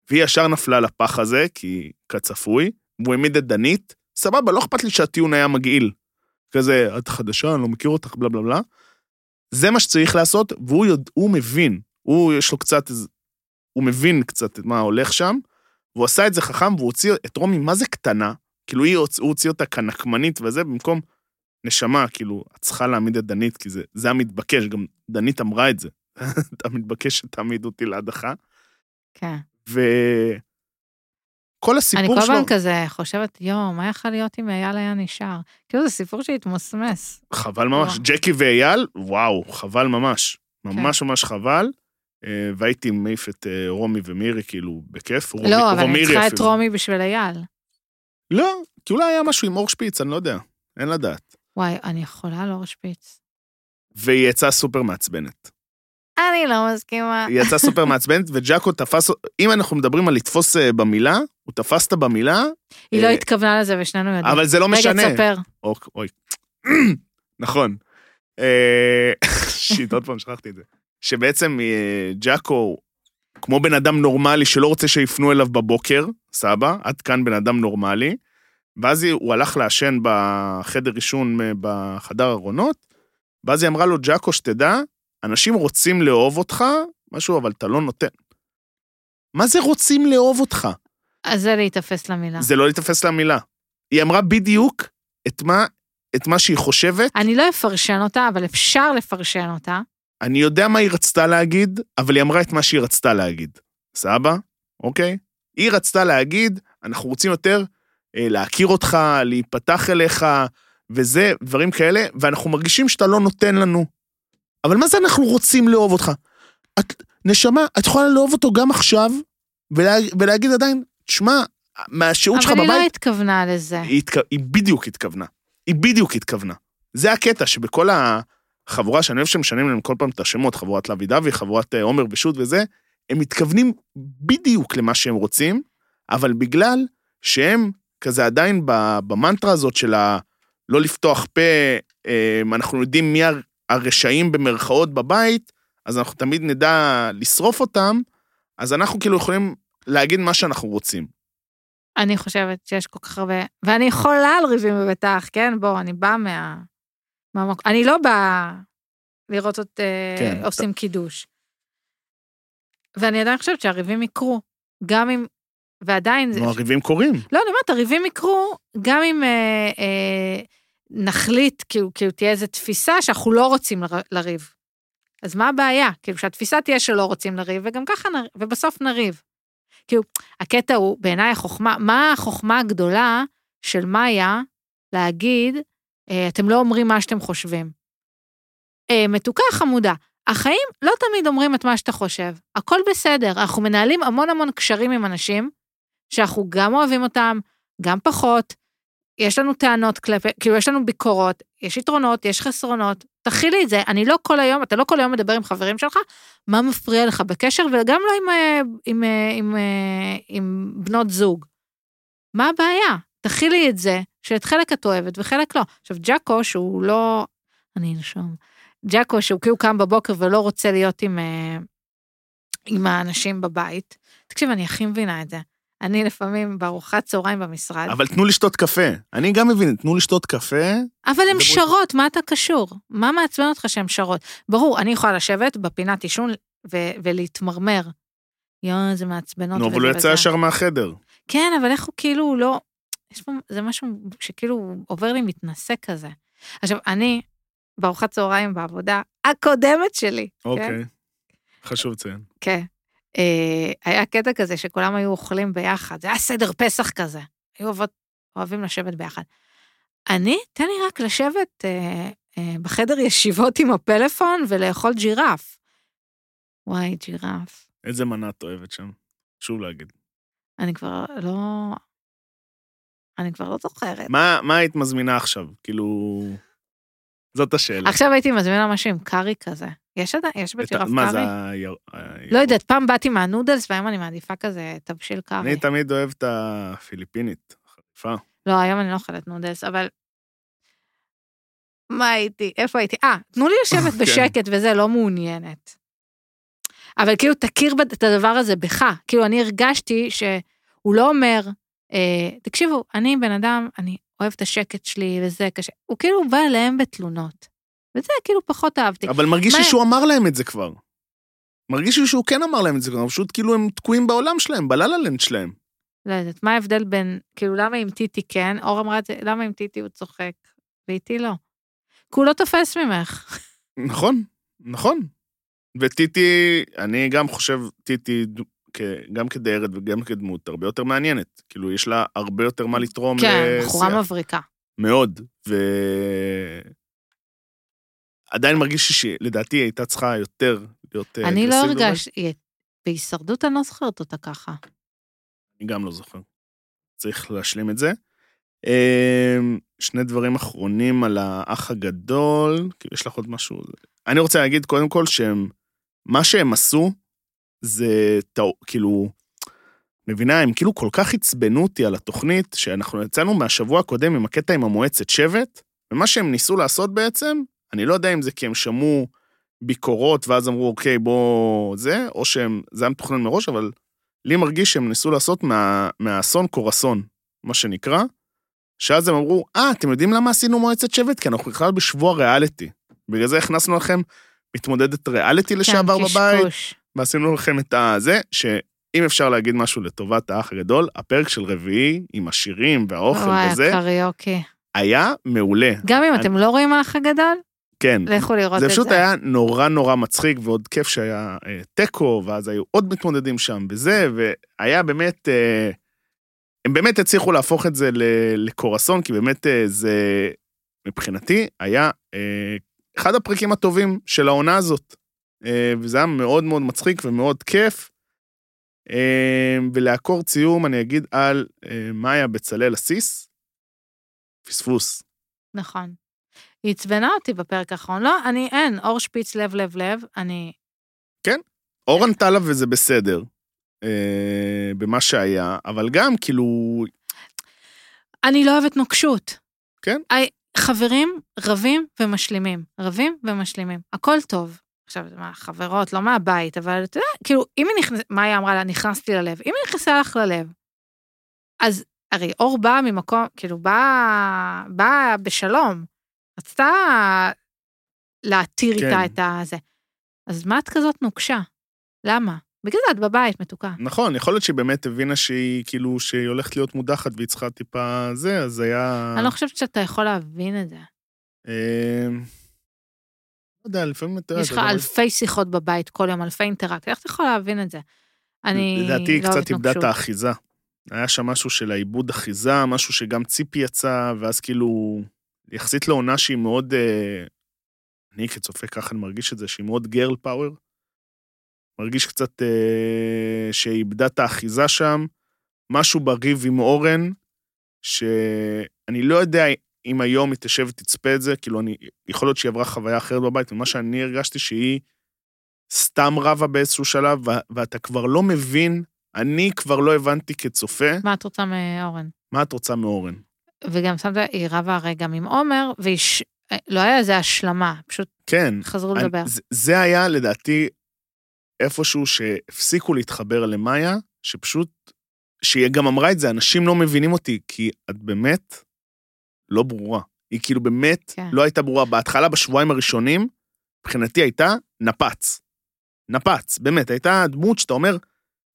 והיא ישר נפלה לפח הזה, כי כצפוי, והוא העמיד את דנית, סבבה, לא אכפת לי שהטיעון היה מגעיל. כזה, את חדשה, אני לא מכיר אותך, בלה בלה בלה. זה מה שצריך לעשות, והוא יודע, הוא מבין. הוא, יש לו קצת, איז- הוא מבין קצת את מה הולך שם, והוא עשה את זה חכם, והוא הוציא את רומי, מה זה קטנה? כאילו, היא, הוצ- הוא הוציא אותה כנקמנית וזה, במקום נשמה, כאילו, את צריכה להעמיד את דנית, כי זה, זה המתבקש, גם דנית אמרה את זה. אתה מתבקש שתעמיד אותי להדחה. כן. וכל אני הסיפור כל שלו... הזמן כזה חושבת, יואו, מה יכול להיות אם אייל היה נשאר? כאילו זה סיפור שהתמסמס. חבל ממש. וואו. כן. ג'קי ואייל, וואו, חבל ממש. ממש ממש חבל. אה, והייתי מעיף את אה, רומי ומירי, כאילו, בכיף. רומי- לא, אבל אני ומירי צריכה את אפילו. רומי בשביל אייל. לא, כי אולי היה משהו עם אור שפיץ, אני לא יודע. אין לדעת. וואי, אני יכולה לא להשפיץ. והיא יצאה סופר מעצבנת. אני לא מסכימה. היא יצאה סופר מעצבנת, וג'אקו תפס... אם אנחנו מדברים על לתפוס אה, במילה, הוא תפס אותה במילה, היא לא אה, התכוונה לזה ושנינו יודעים. אבל זה לא משנה. רגע, תספר. אוק, אוי. נכון. אה, שיט, עוד פעם שכחתי את זה. שבעצם אה, ג'אקו, כמו בן אדם נורמלי שלא רוצה שיפנו אליו בבוקר, סבא, עד כאן בן אדם נורמלי, ואז היא- הוא הלך לעשן בחדר עישון אה, בחדר ארונות, ואז היא אמרה לו, ג'אקו, שתדע, אנשים רוצים לאהוב אותך, משהו, אבל אתה לא נותן. מה זה רוצים לאהוב אותך? אז זה להיתפס למילה. זה לא להתאפס למילה. היא אמרה בדיוק את מה, את מה שהיא חושבת, אני לא אפרשן אותה, אבל אפשר לפרשן אותה. אני יודע מה היא רצתה להגיד, אבל היא אמרה את מה שהיא רצתה להגיד. סבא? אוקיי? היא רצתה להגיד, אנחנו רוצים יותר אה, להכיר אותך, להיפתח אליך, וזה, דברים כאלה, ואנחנו מרגישים שאתה לא נותן לנו. אבל מה זה אנחנו רוצים לאהוב אותך? את, נשמה, את יכולה לאהוב אותו גם עכשיו, ולה, ולהגיד עדיין, תשמע, מהשהות שלך אבל בבית... היא לא התכוונה לזה. היא, התכ... היא בדיוק התכוונה. היא בדיוק התכוונה. זה הקטע שבכל החבורה שאני אוהב שמשנים להם כל פעם את השמות, חבורת לוי דווי, חבורת אה, עומר ושות' וזה, הם מתכוונים בדיוק למה שהם רוצים, אבל בגלל שהם כזה עדיין ב- במנטרה הזאת של ה... לא לפתוח פה, אה, אנחנו יודעים מי הר- הרשעים במרכאות בבית, אז אנחנו תמיד נדע לשרוף אותם, אז אנחנו כאילו יכולים להגיד מה שאנחנו רוצים. אני חושבת שיש כל כך הרבה, ואני חולה על ריבים בבית האח, כן? בוא, אני באה מה... מהמוק... אני לא באה לראות את כן, כן, עושים קידוש. ואני עדיין חושבת שהריבים יקרו, גם אם... ועדיין... זה... נו, הריבים קורים. לא, אני אומרת, הריבים יקרו, גם אם אה, אה, נחליט, כאילו, כאילו תהיה איזו תפיסה שאנחנו לא רוצים לר... לריב. אז מה הבעיה? כאילו שהתפיסה תהיה שלא רוצים לריב, וגם ככה נריב, ובסוף נריב. כאילו, הקטע הוא, בעיניי החוכמה, מה החוכמה הגדולה של מאיה להגיד, אה, אתם לא אומרים מה שאתם חושבים. אה, מתוקה חמודה, החיים לא תמיד אומרים את מה שאתה חושב. הכל בסדר, אנחנו מנהלים המון המון קשרים עם אנשים, שאנחנו גם אוהבים אותם, גם פחות, יש לנו טענות כלפי, כאילו יש לנו ביקורות, יש יתרונות, יש חסרונות, תכילי את זה. אני לא כל היום, אתה לא כל היום מדבר עם חברים שלך, מה מפריע לך בקשר, וגם לא עם, אה, עם, אה, עם, אה, עם בנות זוג. מה הבעיה? תכילי את זה, שאת חלק את אוהבת וחלק לא. עכשיו, ג'אקו, שהוא לא... אני אנשום. ג'אקו, שהוא כאילו קם בבוקר ולא רוצה להיות עם, אה, עם האנשים בבית. תקשיב, אני הכי מבינה את זה. אני לפעמים בארוחת צהריים במשרד, אבל תנו לשתות קפה. אני גם מבין, תנו לשתות קפה. אבל הן מדברות. שרות, מה אתה קשור? מה מעצבן אותך שהן שרות? ברור, אני יכולה לשבת בפינת עישון ו- ולהתמרמר. יואו, איזה מעצבנות. נו, אבל וזה הוא יצא וזה. ישר מהחדר. לא, כן, אבל איך הוא כאילו לא... יש פה, זה משהו שכאילו עובר לי מתנשא כזה. עכשיו, אני בארוחת צהריים בעבודה הקודמת שלי. כן? אוקיי. חשוב לציין. כן. אה, היה קטע כזה שכולם היו אוכלים ביחד, זה היה סדר פסח כזה. היו אוהבות, אוהבים לשבת ביחד. אני, תן לי רק לשבת אה, אה, בחדר ישיבות עם הפלאפון ולאכול ג'ירף. וואי, ג'ירף. איזה מנה את אוהבת שם? שוב להגיד. אני כבר לא... אני כבר לא זוכרת. מה מה היית מזמינה עכשיו? כאילו... זאת השאלה. עכשיו הייתי מזמינה משהו עם קארי כזה. יש עדיין, יש את ה- בג'ירף מה זה קארי? הירוק? לא יודעת, פעם באתי מהנודלס והיום אני מעדיפה כזה תבשיל קארי. אני תמיד אוהב את הפיליפינית. חריפה. לא, היום אני לא אוכלת נודלס, אבל... מה הייתי? איפה הייתי? אה, תנו לי לשבת כן. בשקט וזה, לא מעוניינת. אבל כאילו, תכיר בד- את הדבר הזה בך. כאילו, אני הרגשתי שהוא לא אומר, אה, תקשיבו, אני בן אדם, אני אוהב את השקט שלי וזה קשה. הוא כאילו בא אליהם בתלונות. וזה כאילו פחות אהבתי. אבל מרגיש לי מה- שהוא אמר להם את זה כבר. מרגיש לי שהוא כן אמר להם את זה כבר, פשוט כאילו הם תקועים בעולם שלהם, בללה לנד שלהם. לא יודעת, מה ההבדל בין, כאילו, למה עם טיטי כן? אור אמרה את זה, למה עם טיטי הוא צוחק? ואיתי לא. כי הוא לא תופס ממך. נכון, נכון. וטיטי, אני גם חושב, טיטי, ד- כ- גם כדיירת וגם כדמות, הרבה יותר מעניינת. כאילו, יש לה הרבה יותר מה לתרום כן, לשיח. בחורה מבריקה. מאוד, ו... עדיין מרגיש לי שלדעתי היא הייתה צריכה יותר להיות אה, אני לא אגרסיבית, אבל הרגשתי, היא- בהישרדות אני לא זוכרת אותה ככה. אני גם לא זוכר. צריך להשלים את זה. אמ, שני דברים אחרונים על האח הגדול, כאילו, יש לך עוד משהו? אני רוצה להגיד קודם כל שהם, מה שהם עשו, זה טעו- כאילו, מבינה, הם כאילו כל כך עצבנו אותי על התוכנית, שאנחנו יצאנו מהשבוע הקודם עם הקטע עם המועצת שבט, ומה שהם ניסו לעשות בעצם, אני לא יודע אם זה כי הם שמעו ביקורות ואז אמרו, אוקיי, בוא זה, או שהם, זה היה מתוכנן מראש, אבל לי מרגיש שהם ניסו לעשות מה, מהאסון קורסון, מה שנקרא, שאז הם אמרו, אה, אתם יודעים למה עשינו מועצת שבט? כי אנחנו בכלל בשבוע ריאליטי. בגלל זה הכנסנו לכם מתמודדת ריאליטי לשעבר כן, בבית. קשקוש. ועשינו לכם את הזה, שאם אפשר להגיד משהו לטובת האח הגדול, הפרק של רביעי עם השירים והאוכל וואי, וזה, הקריוקי. היה מעולה. גם אם אתם לא רואים האח הגדול, כן. לכו לראות זה את זה. פשוט היה נורא נורא מצחיק, ועוד כיף שהיה אה, תיקו, ואז היו עוד מתמודדים שם וזה, והיה באמת... אה, הם באמת הצליחו להפוך את זה ל- לקורסון, כי באמת אה, זה, מבחינתי, היה אה, אחד הפרקים הטובים של העונה הזאת. אה, וזה היה מאוד מאוד מצחיק ומאוד כיף. אה, ולעקור ציום, אני אגיד על אה, מאיה בצלאל עסיס. פספוס. נכון. היא עצבנה אותי בפרק האחרון. לא, אני אין, אור שפיץ לב לב לב, אני... אורן טל וזה בסדר, אה, במה שהיה, אבל גם כאילו, אני לא אוהבת נוקשות. כן. I, חברים רבים ומשלימים. רבים ומשלימים. הכל טוב. עכשיו, זה מה, חברות, לא מהבית, אבל אתה יודע, כאילו, אם היא נכנסת, מאיה אמרה לה, נכנסתי ללב. אם היא נכנסה לך ללב, אז הרי אור באה ממקום, כאילו, באה בא בשלום. רצתה להתיר כן. איתה את הזה. אז מה את כזאת נוקשה? למה? בגלל זה את בבית, מתוקה. נכון, יכול להיות שהיא באמת הבינה שהיא כאילו, שהיא הולכת להיות מודחת והיא צריכה טיפה זה, אז היה... אני לא חושבת שאתה יכול להבין את זה. אה, לא יודע, לפעמים אתה יודע... יש לך אתה יודע, אלפי שיחות בבית כל יום, אלפי אינטראקט, איך אתה יכול להבין את זה? אני לדעתי היא לא אוהבת קצת איבדה את נוקשות. האחיזה. היה שם משהו של העיבוד אחיזה, משהו שגם ציפי יצא, ואז כאילו, יחסית לעונה שהיא מאוד, אה, אני כצופה ככה אני מרגיש את זה, שהיא מאוד גרל פאוור. מרגיש קצת אה, שהיא איבדה את האחיזה שם, משהו בריב עם אורן, שאני אני לא יודע אם היום היא תשב ותצפה את זה, כאילו, אני, יכול להיות שהיא עברה חוויה אחרת בבית, ומה שאני הרגשתי שהיא סתם רבה באיזשהו שלב, ו- ואתה כבר לא מבין, אני כבר לא הבנתי כצופה, מה את רוצה מאורן? מה את רוצה מאורן. וגם שמת, היא רבה הרי גם עם עומר, והיא... ש- אה, לא היה איזה השלמה, פשוט כן, חזרו אני- לדבר. זה- זה היה לדעתי איפשהו שהפסיקו להתחבר למאיה, שפשוט, שהיא גם אמרה את זה, אנשים לא מבינים אותי, כי את באמת לא ברורה. היא כאילו באמת כן. לא הייתה ברורה. בהתחלה, בשבועיים הראשונים, מבחינתי הייתה נפץ. נפץ, באמת, הייתה דמות שאתה אומר,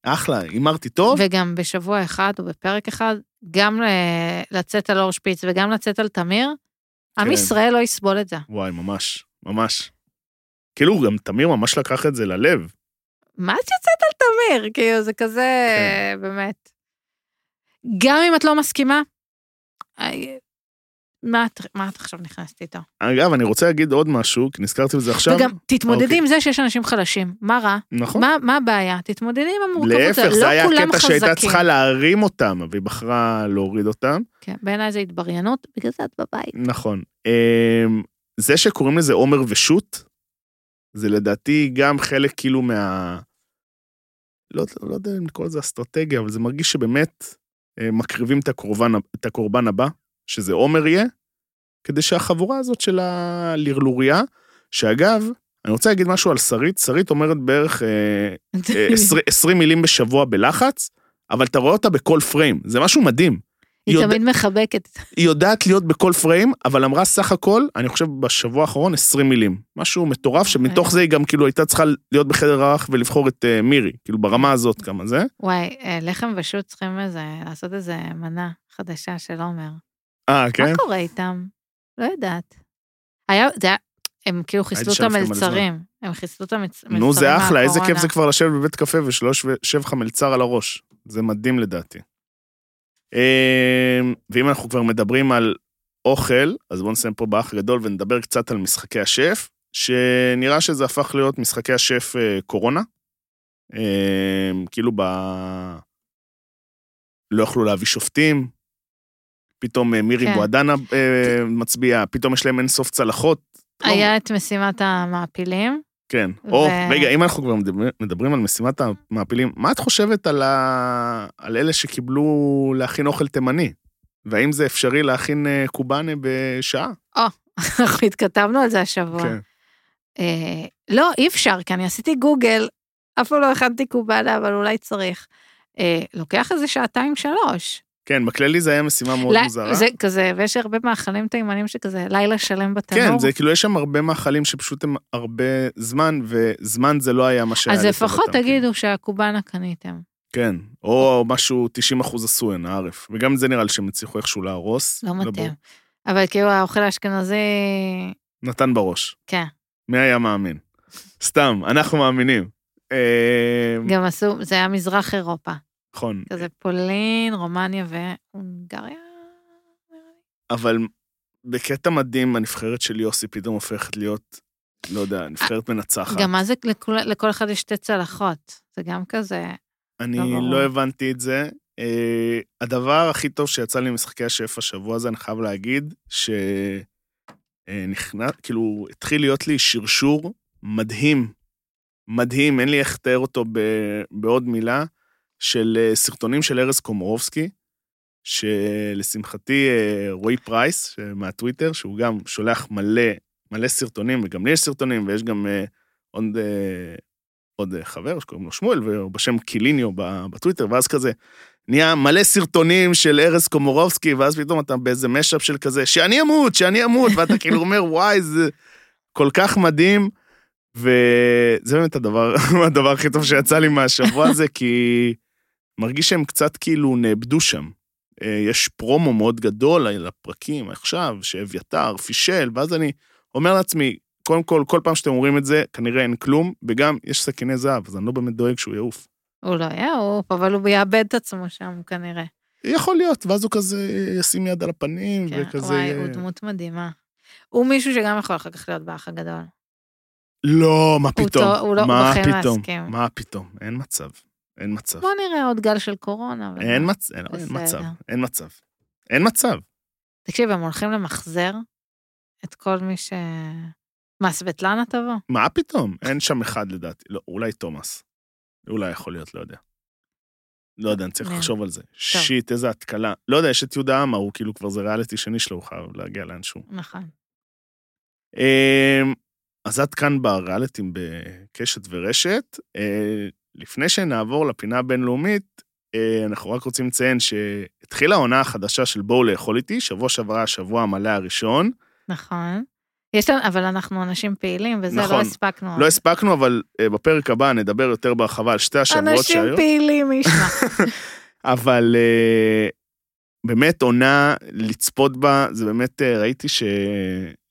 אחלה, הימרתי טוב, וגם בשבוע אחד או בפרק אחד, גם ל- לצאת על אור שפיץ וגם לצאת על תמיר, עם כן. ישראל לא יסבול את זה. וואי, ממש, ממש. כאילו, גם תמיר ממש לקח את זה ללב. מה את יוצאת על תמיר? כאילו, זה כזה, כן. באמת. גם אם את לא מסכימה, איי, מה את, מה את עכשיו נכנסת איתו? אגב, אני רוצה להגיד עוד משהו, כי נזכרתי בזה עכשיו. וגם תתמודדי אוקיי. עם זה שיש אנשים חלשים, מה רע? נכון. מה, מה הבעיה? תתמודדי עם המורכבות, להפך, לא זה היה כולם קטע שהייתה חזקים. צריכה להרים אותם, והיא בחרה להוריד אותם. כן, בעיניי זה התבריינות, בגלל זה את בבית. נכון. אמ, זה שקוראים לזה עומר ושות', זה לדעתי גם חלק כאילו מה... לא, לא יודע אם לקרוא לזה אסטרטגיה, אבל זה מרגיש שבאמת אה, מקריבים את הקורבן, את הקורבן הבא, שזה עומר יהיה, כדי שהחבורה הזאת של הלרלוריה, שאגב, אני רוצה להגיד משהו על שרית, שרית אומרת בערך אה, 20, 20 מילים בשבוע בלחץ, אבל אתה רואה אותה בכל פריים, זה משהו מדהים. היא יודע- תמיד מחבקת. היא יודעת להיות בכל פריים, אבל אמרה סך הכל, אני חושב בשבוע האחרון 20 מילים. משהו מטורף, אה. שמתוך זה היא גם כאילו הייתה צריכה להיות בחדר האח ולבחור את אה, מירי, כאילו ברמה הזאת כמה זה. וואי, אה, לחם ושות צריכים איזה, לעשות איזה מנה חדשה של עומר. אה, מה כן? קורה איתם? לא יודעת. היה, זה היה, הם כאילו חיסלו את שלפתם על זמן. המלצרים. הם חיסלו את המצ- המלצרים נו, זה אחלה, איזה כיף מהקורונה. זה כבר לשבת בבית קפה ושלא יושב- יושב לך מלצר על הראש. זה מדהים לדעתי. אה, ואם אנחנו כבר מדברים על אוכל, אז בואו נסיים פה באח הגדול ונדבר קצת על משחקי השף, שנראה שזה הפך להיות משחקי השף אה, קורונה. אה, כאילו ב... לא יכלו להביא שופטים, פתאום אה, מירי כן. בועדנה אה, מצביעה, פתאום יש להם אינסוף צלחות. לא היה את משימת המעפילים. כן. או, ו- רגע, אם אנחנו כבר מדברים- מדברים על משימת המעפילים, מה את חושבת על, ה... על אלה שקיבלו להכין אוכל תימני? והאם זה אפשרי להכין אה, קובאנה בשעה? אנחנו התכתבנו על זה השבוע. כן. אה, לא, אי אפשר, כי אני עשיתי גוגל, אף פעם לא הכנתי קובאנה, אבל אולי צריך. אה, לוקח איזה שעתיים שלוש. כן, בכללי זה היה משימה מאוד אה? לא, מוזרה. זה כזה, ויש הרבה מאכלים תימנים שכזה, לילה שלם בתנור. כן, זה כאילו, יש שם הרבה מאכלים שפשוט הם הרבה זמן, וזמן זה לא היה מה שהיה. אז לטובתם, לפחות כאילו. תגידו שהקובאנה קניתם. כן, או משהו 90 אחוז עשו הן, הערף. וגם זה נראה לי שהם הצליחו איכשהו להרוס. לא ברור. מתאים. אבל כאילו האוכל האשכנזי, נתן בראש. כן, מי היה מאמין? סתם, אנחנו מאמינים. אה, גם עשו, זה היה מזרח אירופה. נכון. כזה פולין, רומניה והונגריה. אבל בקטע מדהים, הנבחרת של יוסי פתאום הופכת להיות, לא יודע, נבחרת מנצחת. אה, גם מה זה, לכל, לכל אחד יש שתי צלחות. זה גם כזה, לא אני ברור. לא הבנתי את זה. אה, הדבר הכי טוב שיצא לי ממשחקי השף השבוע הזה, אני חייב להגיד, שנכנס, כאילו, התחיל להיות לי שרשור מדהים, מדהים, אין לי איך לתאר אותו ב- בעוד מילה, של אה, סרטונים של ארז קומרובסקי, שלשמחתי אה, רועי פרייס ש- מהטוויטר, שהוא גם שולח מלא, מלא סרטונים, וגם לי יש סרטונים, ויש גם אה, עוד אה, עוד אה, חבר שקוראים לו שמואל, והוא בשם קיליניו ב- בטוויטר, ואז כזה נהיה מלא סרטונים של ארז קומורובסקי, ואז פתאום אתה באיזה משאפ של כזה, שאני אמות, שאני אמות, ואתה כאילו אומר, וואי, זה כל כך מדהים. וזה באמת הדבר, הדבר הכי טוב שיצא לי מהשבוע הזה, כי מרגיש שהם קצת כאילו נאבדו שם. אה, יש פרומו מאוד גדול על הפרקים עכשיו, שאביתר פישל, ואז אני אומר לעצמי, קודם כל, כל פעם שאתם אומרים את זה, כנראה אין כלום, וגם יש סכיני זהב, אז אני לא באמת דואג שהוא יעוף. הוא לא יעוף, אבל הוא יאבד את עצמו שם כנראה. יכול להיות, ואז הוא כזה ישים יד על הפנים, כן, וכזה... וואי, הוא דמות מדהימה. הוא מישהו שגם יכול אחר כך להיות באח הגדול. לא, מה הוא פתאום? טוב, הוא לא- הוא מה בחיים לא פתאום? יסכים. מה פתאום? אין מצב. אין מצב. בוא נראה עוד גל של קורונה. אבל- אין מצב. אין אין בסדר. מצב. אין מצב. אין מצב. תקשיב, הם הולכים למחזר את כל מי ש... מה, סבטלנה תבוא? מה פתאום? אין שם אחד לדעתי. לא, אולי תומאס. אולי יכול להיות, לא יודע. לא יודע, אני צריך מעניין. לחשוב על זה. שיט, איזה התקלה. לא יודע, יש את יהודה עמה, הוא כאילו כבר זה ריאליטי שני שלו, הוא חייב להגיע לאנשהו. נכון. אמ, אז עד כאן בריאליטים בקשת ורשת. אה, לפני שנעבור לפינה הבינלאומית, אה, אנחנו רק רוצים לציין שהתחילה העונה החדשה של בואו לאכול איתי, שבוע שעבר היה השבוע המלא הראשון. נכון. יש לנו, אבל אנחנו אנשים פעילים, וזה נכון. לא הספקנו. לא הספקנו, אבל אה, בפרק הבא נדבר יותר בהרחבה על שתי השבועות אנשים שהיו. פעילים, ישמע. אבל אה, באמת עונה לצפות בה, זה באמת, אה, ראיתי ש,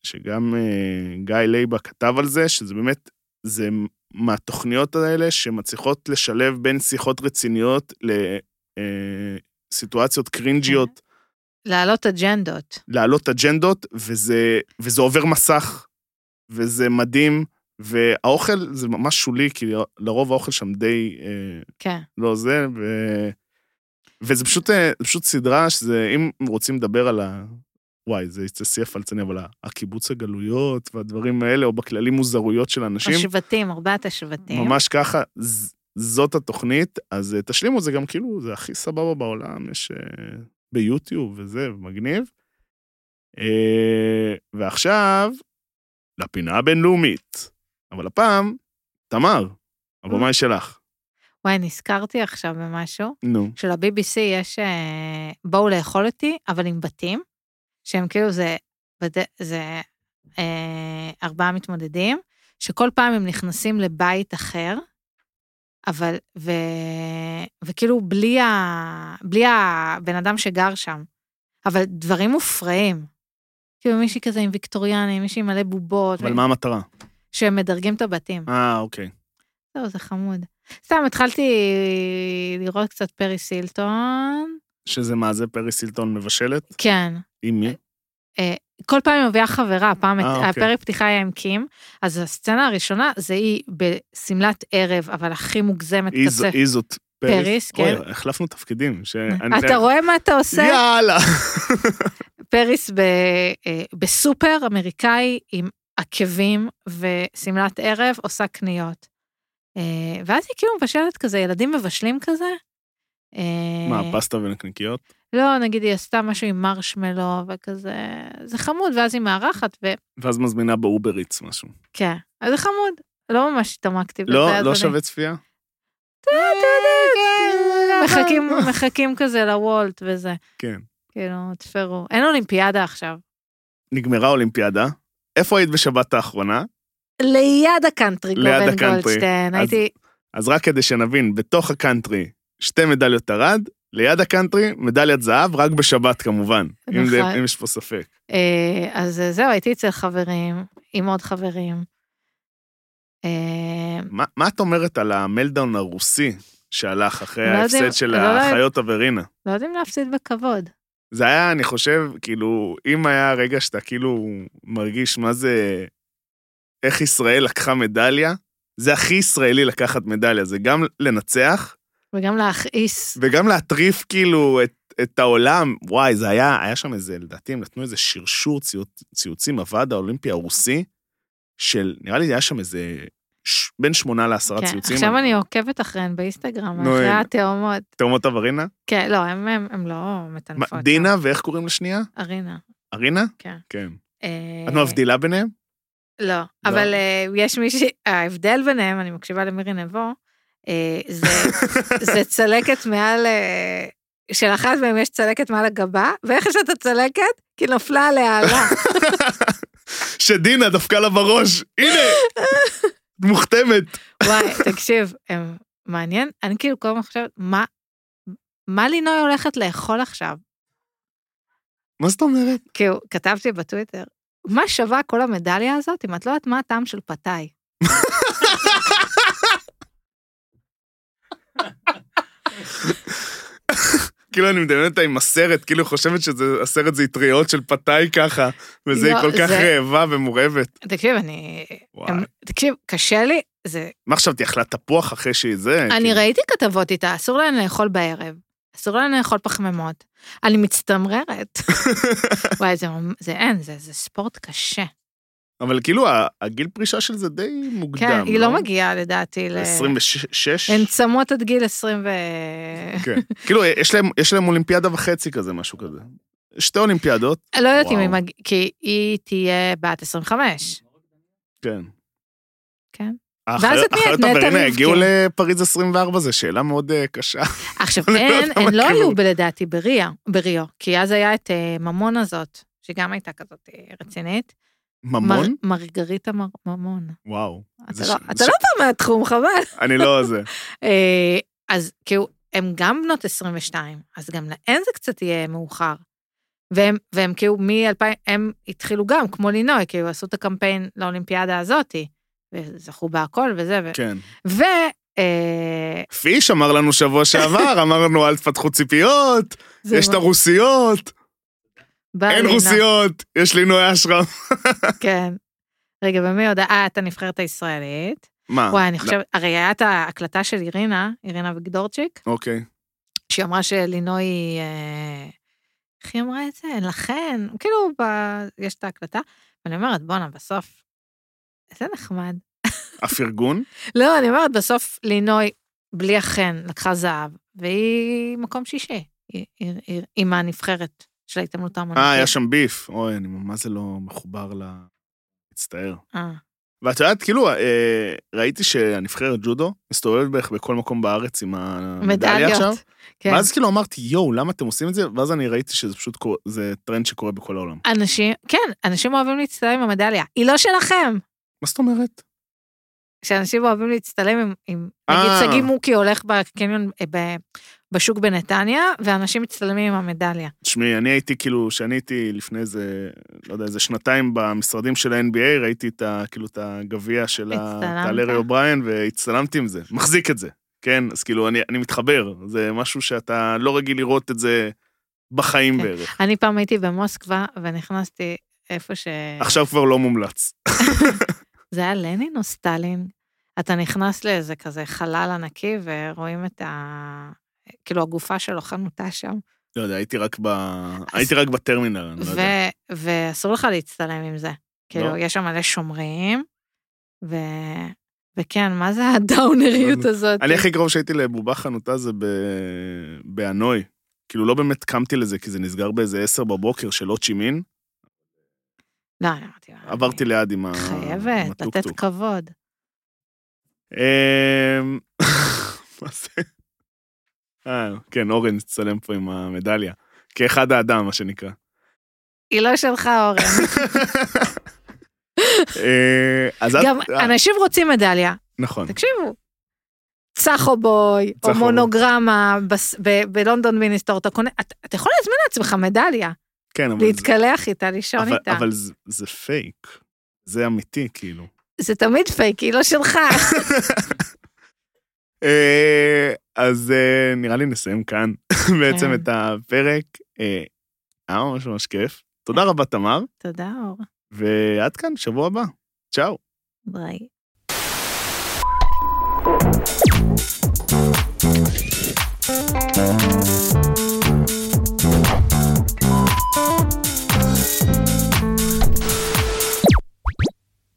שגם אה, גיא לייבה כתב על זה, שזה באמת, זה מהתוכניות האלה שמצליחות לשלב בין שיחות רציניות לסיטואציות קרינג'יות, להעלות אג'נדות. להעלות אג'נדות, וזה, וזה עובר מסך, וזה מדהים, והאוכל זה ממש שולי, כי לרוב האוכל שם די... אה, כן. לא זה, ו... וזה פשוט, אה, זה פשוט סדרה שזה, אם רוצים לדבר על ה... וואי, זה יצא שיא הפלצני, אבל ה- הקיבוץ הגלויות והדברים האלה, או בכללי מוזרויות של אנשים, השבטים, ארבעת השבטים. ממש ככה, ז- זאת התוכנית, אז אה, תשלימו את זה גם כאילו, זה הכי סבבה בעולם, יש אה, ביוטיוב וזה, מגניב. אה, ועכשיו, לפינה הבינלאומית, אבל הפעם, תמר, הבמה היא שלך. וואי, נזכרתי עכשיו במשהו. נו. של-BBC יש אה, בואו לאכול אותי, אבל עם בתים, שהם כאילו זה, בד- זה אה, ארבעה מתמודדים, שכל פעם הם נכנסים לבית אחר, אבל, ו, וכאילו בלי, ה, בלי הבן אדם שגר שם, אבל דברים מופרעים. כאילו מישהי כזה עם ויקטוריאנים, מישהי מלא בובות, אבל ו- מה המטרה? שהם מדרגים את הבתים. אה, אוקיי. זהו, זה חמוד. סתם, התחלתי לראות קצת פרי סילטון. שזה מה זה, פרי סילטון מבשלת? כן. עם מי? כל פעם היא מביאה חברה, פעם אה, אוקיי. הפרק פתיחה היה עם קים, אז הסצנה הראשונה זה היא בשמלת ערב, אבל הכי מוגזמת איזו- כזה. איזות פריס, כן. אוי, החלפנו תפקידים. ש- אני- אתה רואה מה אתה עושה? יאללה. פריס ב, אה, בסופר אמריקאי עם עקבים ושמלת ערב עושה קניות. אה, ואז היא כאילו מבשלת כזה, ילדים מבשלים כזה. אה, מה, פסטה ונקניקיות? לא, נגיד היא עשתה משהו עם מרשמלו וכזה, זה חמוד, ואז היא מארחת, וכן, ואז מזמינה באובר איץ משהו. אז זה חמוד. לא ממש התעמקתי בזה. לא, אז לא אני- שווה צפייה? מחכים, מחכים כזה לוולט וזה. כן. כאילו, תפרו. אין אולימפיאדה עכשיו. נגמרה אולימפיאדה. איפה היית בשבת האחרונה? ליד הקאנטרי, ליד גורן הקאנטרי. גולדשטיין. אז- הייתי, אז רק כדי שנבין, בתוך הקאנטרי, שתי מדליות ארד, ליד הקאנטרי, מדליית זהב, רק בשבת כמובן. אם זה- נכון. אם יש פה ספק. אה, אז אה, זהו, הייתי אצל חברים, עם עוד חברים. אה, מה מה את אומרת על המלדאון הרוסי שהלך אחרי לא יודעים- ההפסד של לא יודעת. האחיות אברינה? לא יודעים להפסיד בכבוד. זה היה, אני חושב, כאילו, אם היה רגע שאתה כאילו מרגיש מה זה, איך ישראל לקחה מדליה, זה הכי ישראלי לקחת מדליה, זה גם לנצח וגם להכעיס. וגם להטריף כאילו את, את העולם. וואי, זה היה, היה שם איזה, לדעתי הם נתנו איזה שרשור ציוצ, ציוצים, הוועד האולימפי הרוסי, של, נראה לי היה שם איזה, ש, בין שמונה לעשרה כן, ציוצים. עכשיו אני עוקבת אחריהן באינסטגרם, נו, אחרי הנה. התאומות. תאומות אברינה? כן, לא, הם- הם הם לא מה, מטנפות. דינה, ואיך קוראים לשנייה? ארינה. ארינה? כן. כן. אה, את מבדילה ביניהם? לא, אבל אה, יש מישהי, ההבדל ביניהם, אני מקשיבה למירי נבו, אה, זה- זה צלקת מעל, אה, של אחת מהם יש צלקת מעל הגבה, ואיך יש לה את הצלקת? כי נפלה עליה לא. עלה. שדינה דפקה לה בראש, הנה, את מוכתמת. וואי, תקשיב, הם- מעניין, אני כאילו כל הזמן חושבת, מה, מה לינוי הולכת לאכול עכשיו? מה זאת אומרת? כאילו, כתבתי בטוויטר, מה שווה כל המדליה הזאת אם את לא יודעת מה הטעם של פתאי? כאילו, אני מדמיין אותה עם הסרט, כאילו, חושבת שהסרט זה אטריות של פתאי ככה, וזה לא, כל כך זה- רעבה ומורעבת. תקשיב, אני... וואי. הם- תקשיב, קשה לי, זה מה עכשיו, את יכלה תפוח אחרי שהיא זה? אני כאילו? ראיתי כתבות איתה, אסור להן לאכול בערב. אסור לנו לאכול פחמימות. אני מצטמררת. וואי, זה, ממ- זה אין, זה, זה ספורט קשה. אבל כאילו, ה- הגיל פרישה של זה די מוקדם. כן, היא לא מגיעה לדעתי ל... 26? הן צמות עד גיל 20 ו... כן. כאילו, יש להם- יש להם אולימפיאדה וחצי כזה, משהו כזה. שתי אולימפיאדות, לא יודעת אם אוקיי. וואו. היא מגיעה, כי היא תהיה בת 25. כן. כן. ואז האחיות את מי? את האחיות נטע אברנה רבקין. הגיעו לפריז 24, זו שאלה מאוד אה, קשה. עכשיו, אני לא הן יודע מה הן לא כאילו. היו ב- לדעתי בריה- בריו, כי אז היה את אה, ממון הזאת, שגם הייתה כזאת אה, רצינית. ממון? מר- מרגריטה מר- ממון. וואו. אתה זה לא- ש- אתה זה לא בא מהתחום, חבל. אני לא זה. אה, אז כאילו, הם גם בנות 22, אז גם להן זה קצת יהיה מאוחר. והם, והם כאילו מ-2000, הם התחילו גם, כמו לינוי, כאילו עשו את הקמפיין לאולימפיאדה הזאתי, וזכו בהכל וזה, ו... כן. ו... אה, פיש אמר לנו שבוע שעבר, אמרנו אל תפתחו ציפיות, זה אה, יש את מאוד- הרוסיות, בא אין לינוי, רוסיות, יש לינוי אשרם. כן. רגע, ומי יודע? אה, את הנבחרת הישראלית. מה? וואי, אני לא, חושבת, הרי היה את ההקלטה של אירינה, אירינה וגדורצ'יק, אוקיי. שהיא אמרה שלינוי, אה, איך היא אמרה את זה? לכן, כאילו, ב... יש את ההקלטה, ואני אומרת, בואנה, בסוף, זה נחמד. הפרגון? לא, אני אומרת, בסוף לינוי, בלי החן, לקחה זהב, והיא מקום שישי, היא- היא- היא- עם הנבחרת של ההתעמלות האמנותית. אה, היה שם ביף. אוי, אני ממש לא מחובר ל... מצטער. אה, ואת יודעת, כאילו, אה, ראיתי שהנבחרת ג'ודו מסתובבת בערך בכל מקום בארץ עם המדליה עכשיו. מדליות. כן. ואז כאילו אמרתי, יואו, למה אתם עושים את זה? ואז אני ראיתי שזה פשוט קורה, זה טרנד שקורה בכל העולם. אנשים, כן, אנשים אוהבים להצטלם עם המדליה. היא לא שלכם. מה זאת אומרת? שאנשים אוהבים להצטלם עם, עם נגיד אה. שגיא מוקי הולך בקניון, אה, ב, בשוק בנתניה, ואנשים מצטלמים עם המדליה. תשמעי, אני הייתי כאילו, כשאני הייתי לפני איזה, לא יודע, איזה שנתיים במשרדים של ה-NBA, ראיתי את ה... כאילו, את הגביע של ה... הצטלמת? את הלארי אובריין, והצטלמתי עם זה. מחזיק את זה, כן? אז כאילו, אני, אני מתחבר. זה משהו שאתה לא רגיל לראות את זה בחיים כן. בערך. אני פעם הייתי במוסקבה, ונכנסתי איפה ש... עכשיו כבר לא מומלץ. זה היה לנין או סטלין? אתה נכנס לאיזה כזה חלל ענקי, ורואים את ה... כאילו הגופה שלו חנותה שם, לא יודע, הייתי רק ב... הייתי רק בטרמינל, אני לא ו... יודע. ואסור לך להצטלם עם זה. כאילו, לא. יש שם מלא שומרים, ו... וכן, מה זה הדאונריות הזאת? אני הכי קרוב שהייתי לבובה חנותה זה ב... בהנוי. כאילו, לא באמת קמתי לזה, כי זה נסגר באיזה עשר בבוקר של הוצ'י מין. לא, אני אמרתי... "מה, עברתי ליד עם ה... עם חייבת לתת הטוקטוק. כבוד. אמ, מה זה? אה, כן, אורן הצטלם פה עם המדליה. כאחד האדם, מה שנקרא. היא לא שלך, אורן. אה, אז את... גם אה, אנשים רוצים מדליה, נכון. תקשיבו. צחו בוי, או צחו בוי. מונוגרמה בס- ב- בלונדון מיניסטור, אתה קונה, אתה- אתה יכול להזמין לעצמך מדליה, כן, אבל... זה- להתקלח איתה, לישון אבל- איתה. אבל זה- זה פייק. זה אמיתי, כאילו. זה תמיד פייק, היא לא שלך. אה, אז אה, נראה לי נסיים כאן בעצם כן. את הפרק. אה, היה ממש ממש כיף. תודה רבה, תמר, תודה, אור. ועד כאן, שבוע הבא. צ'או. ביי.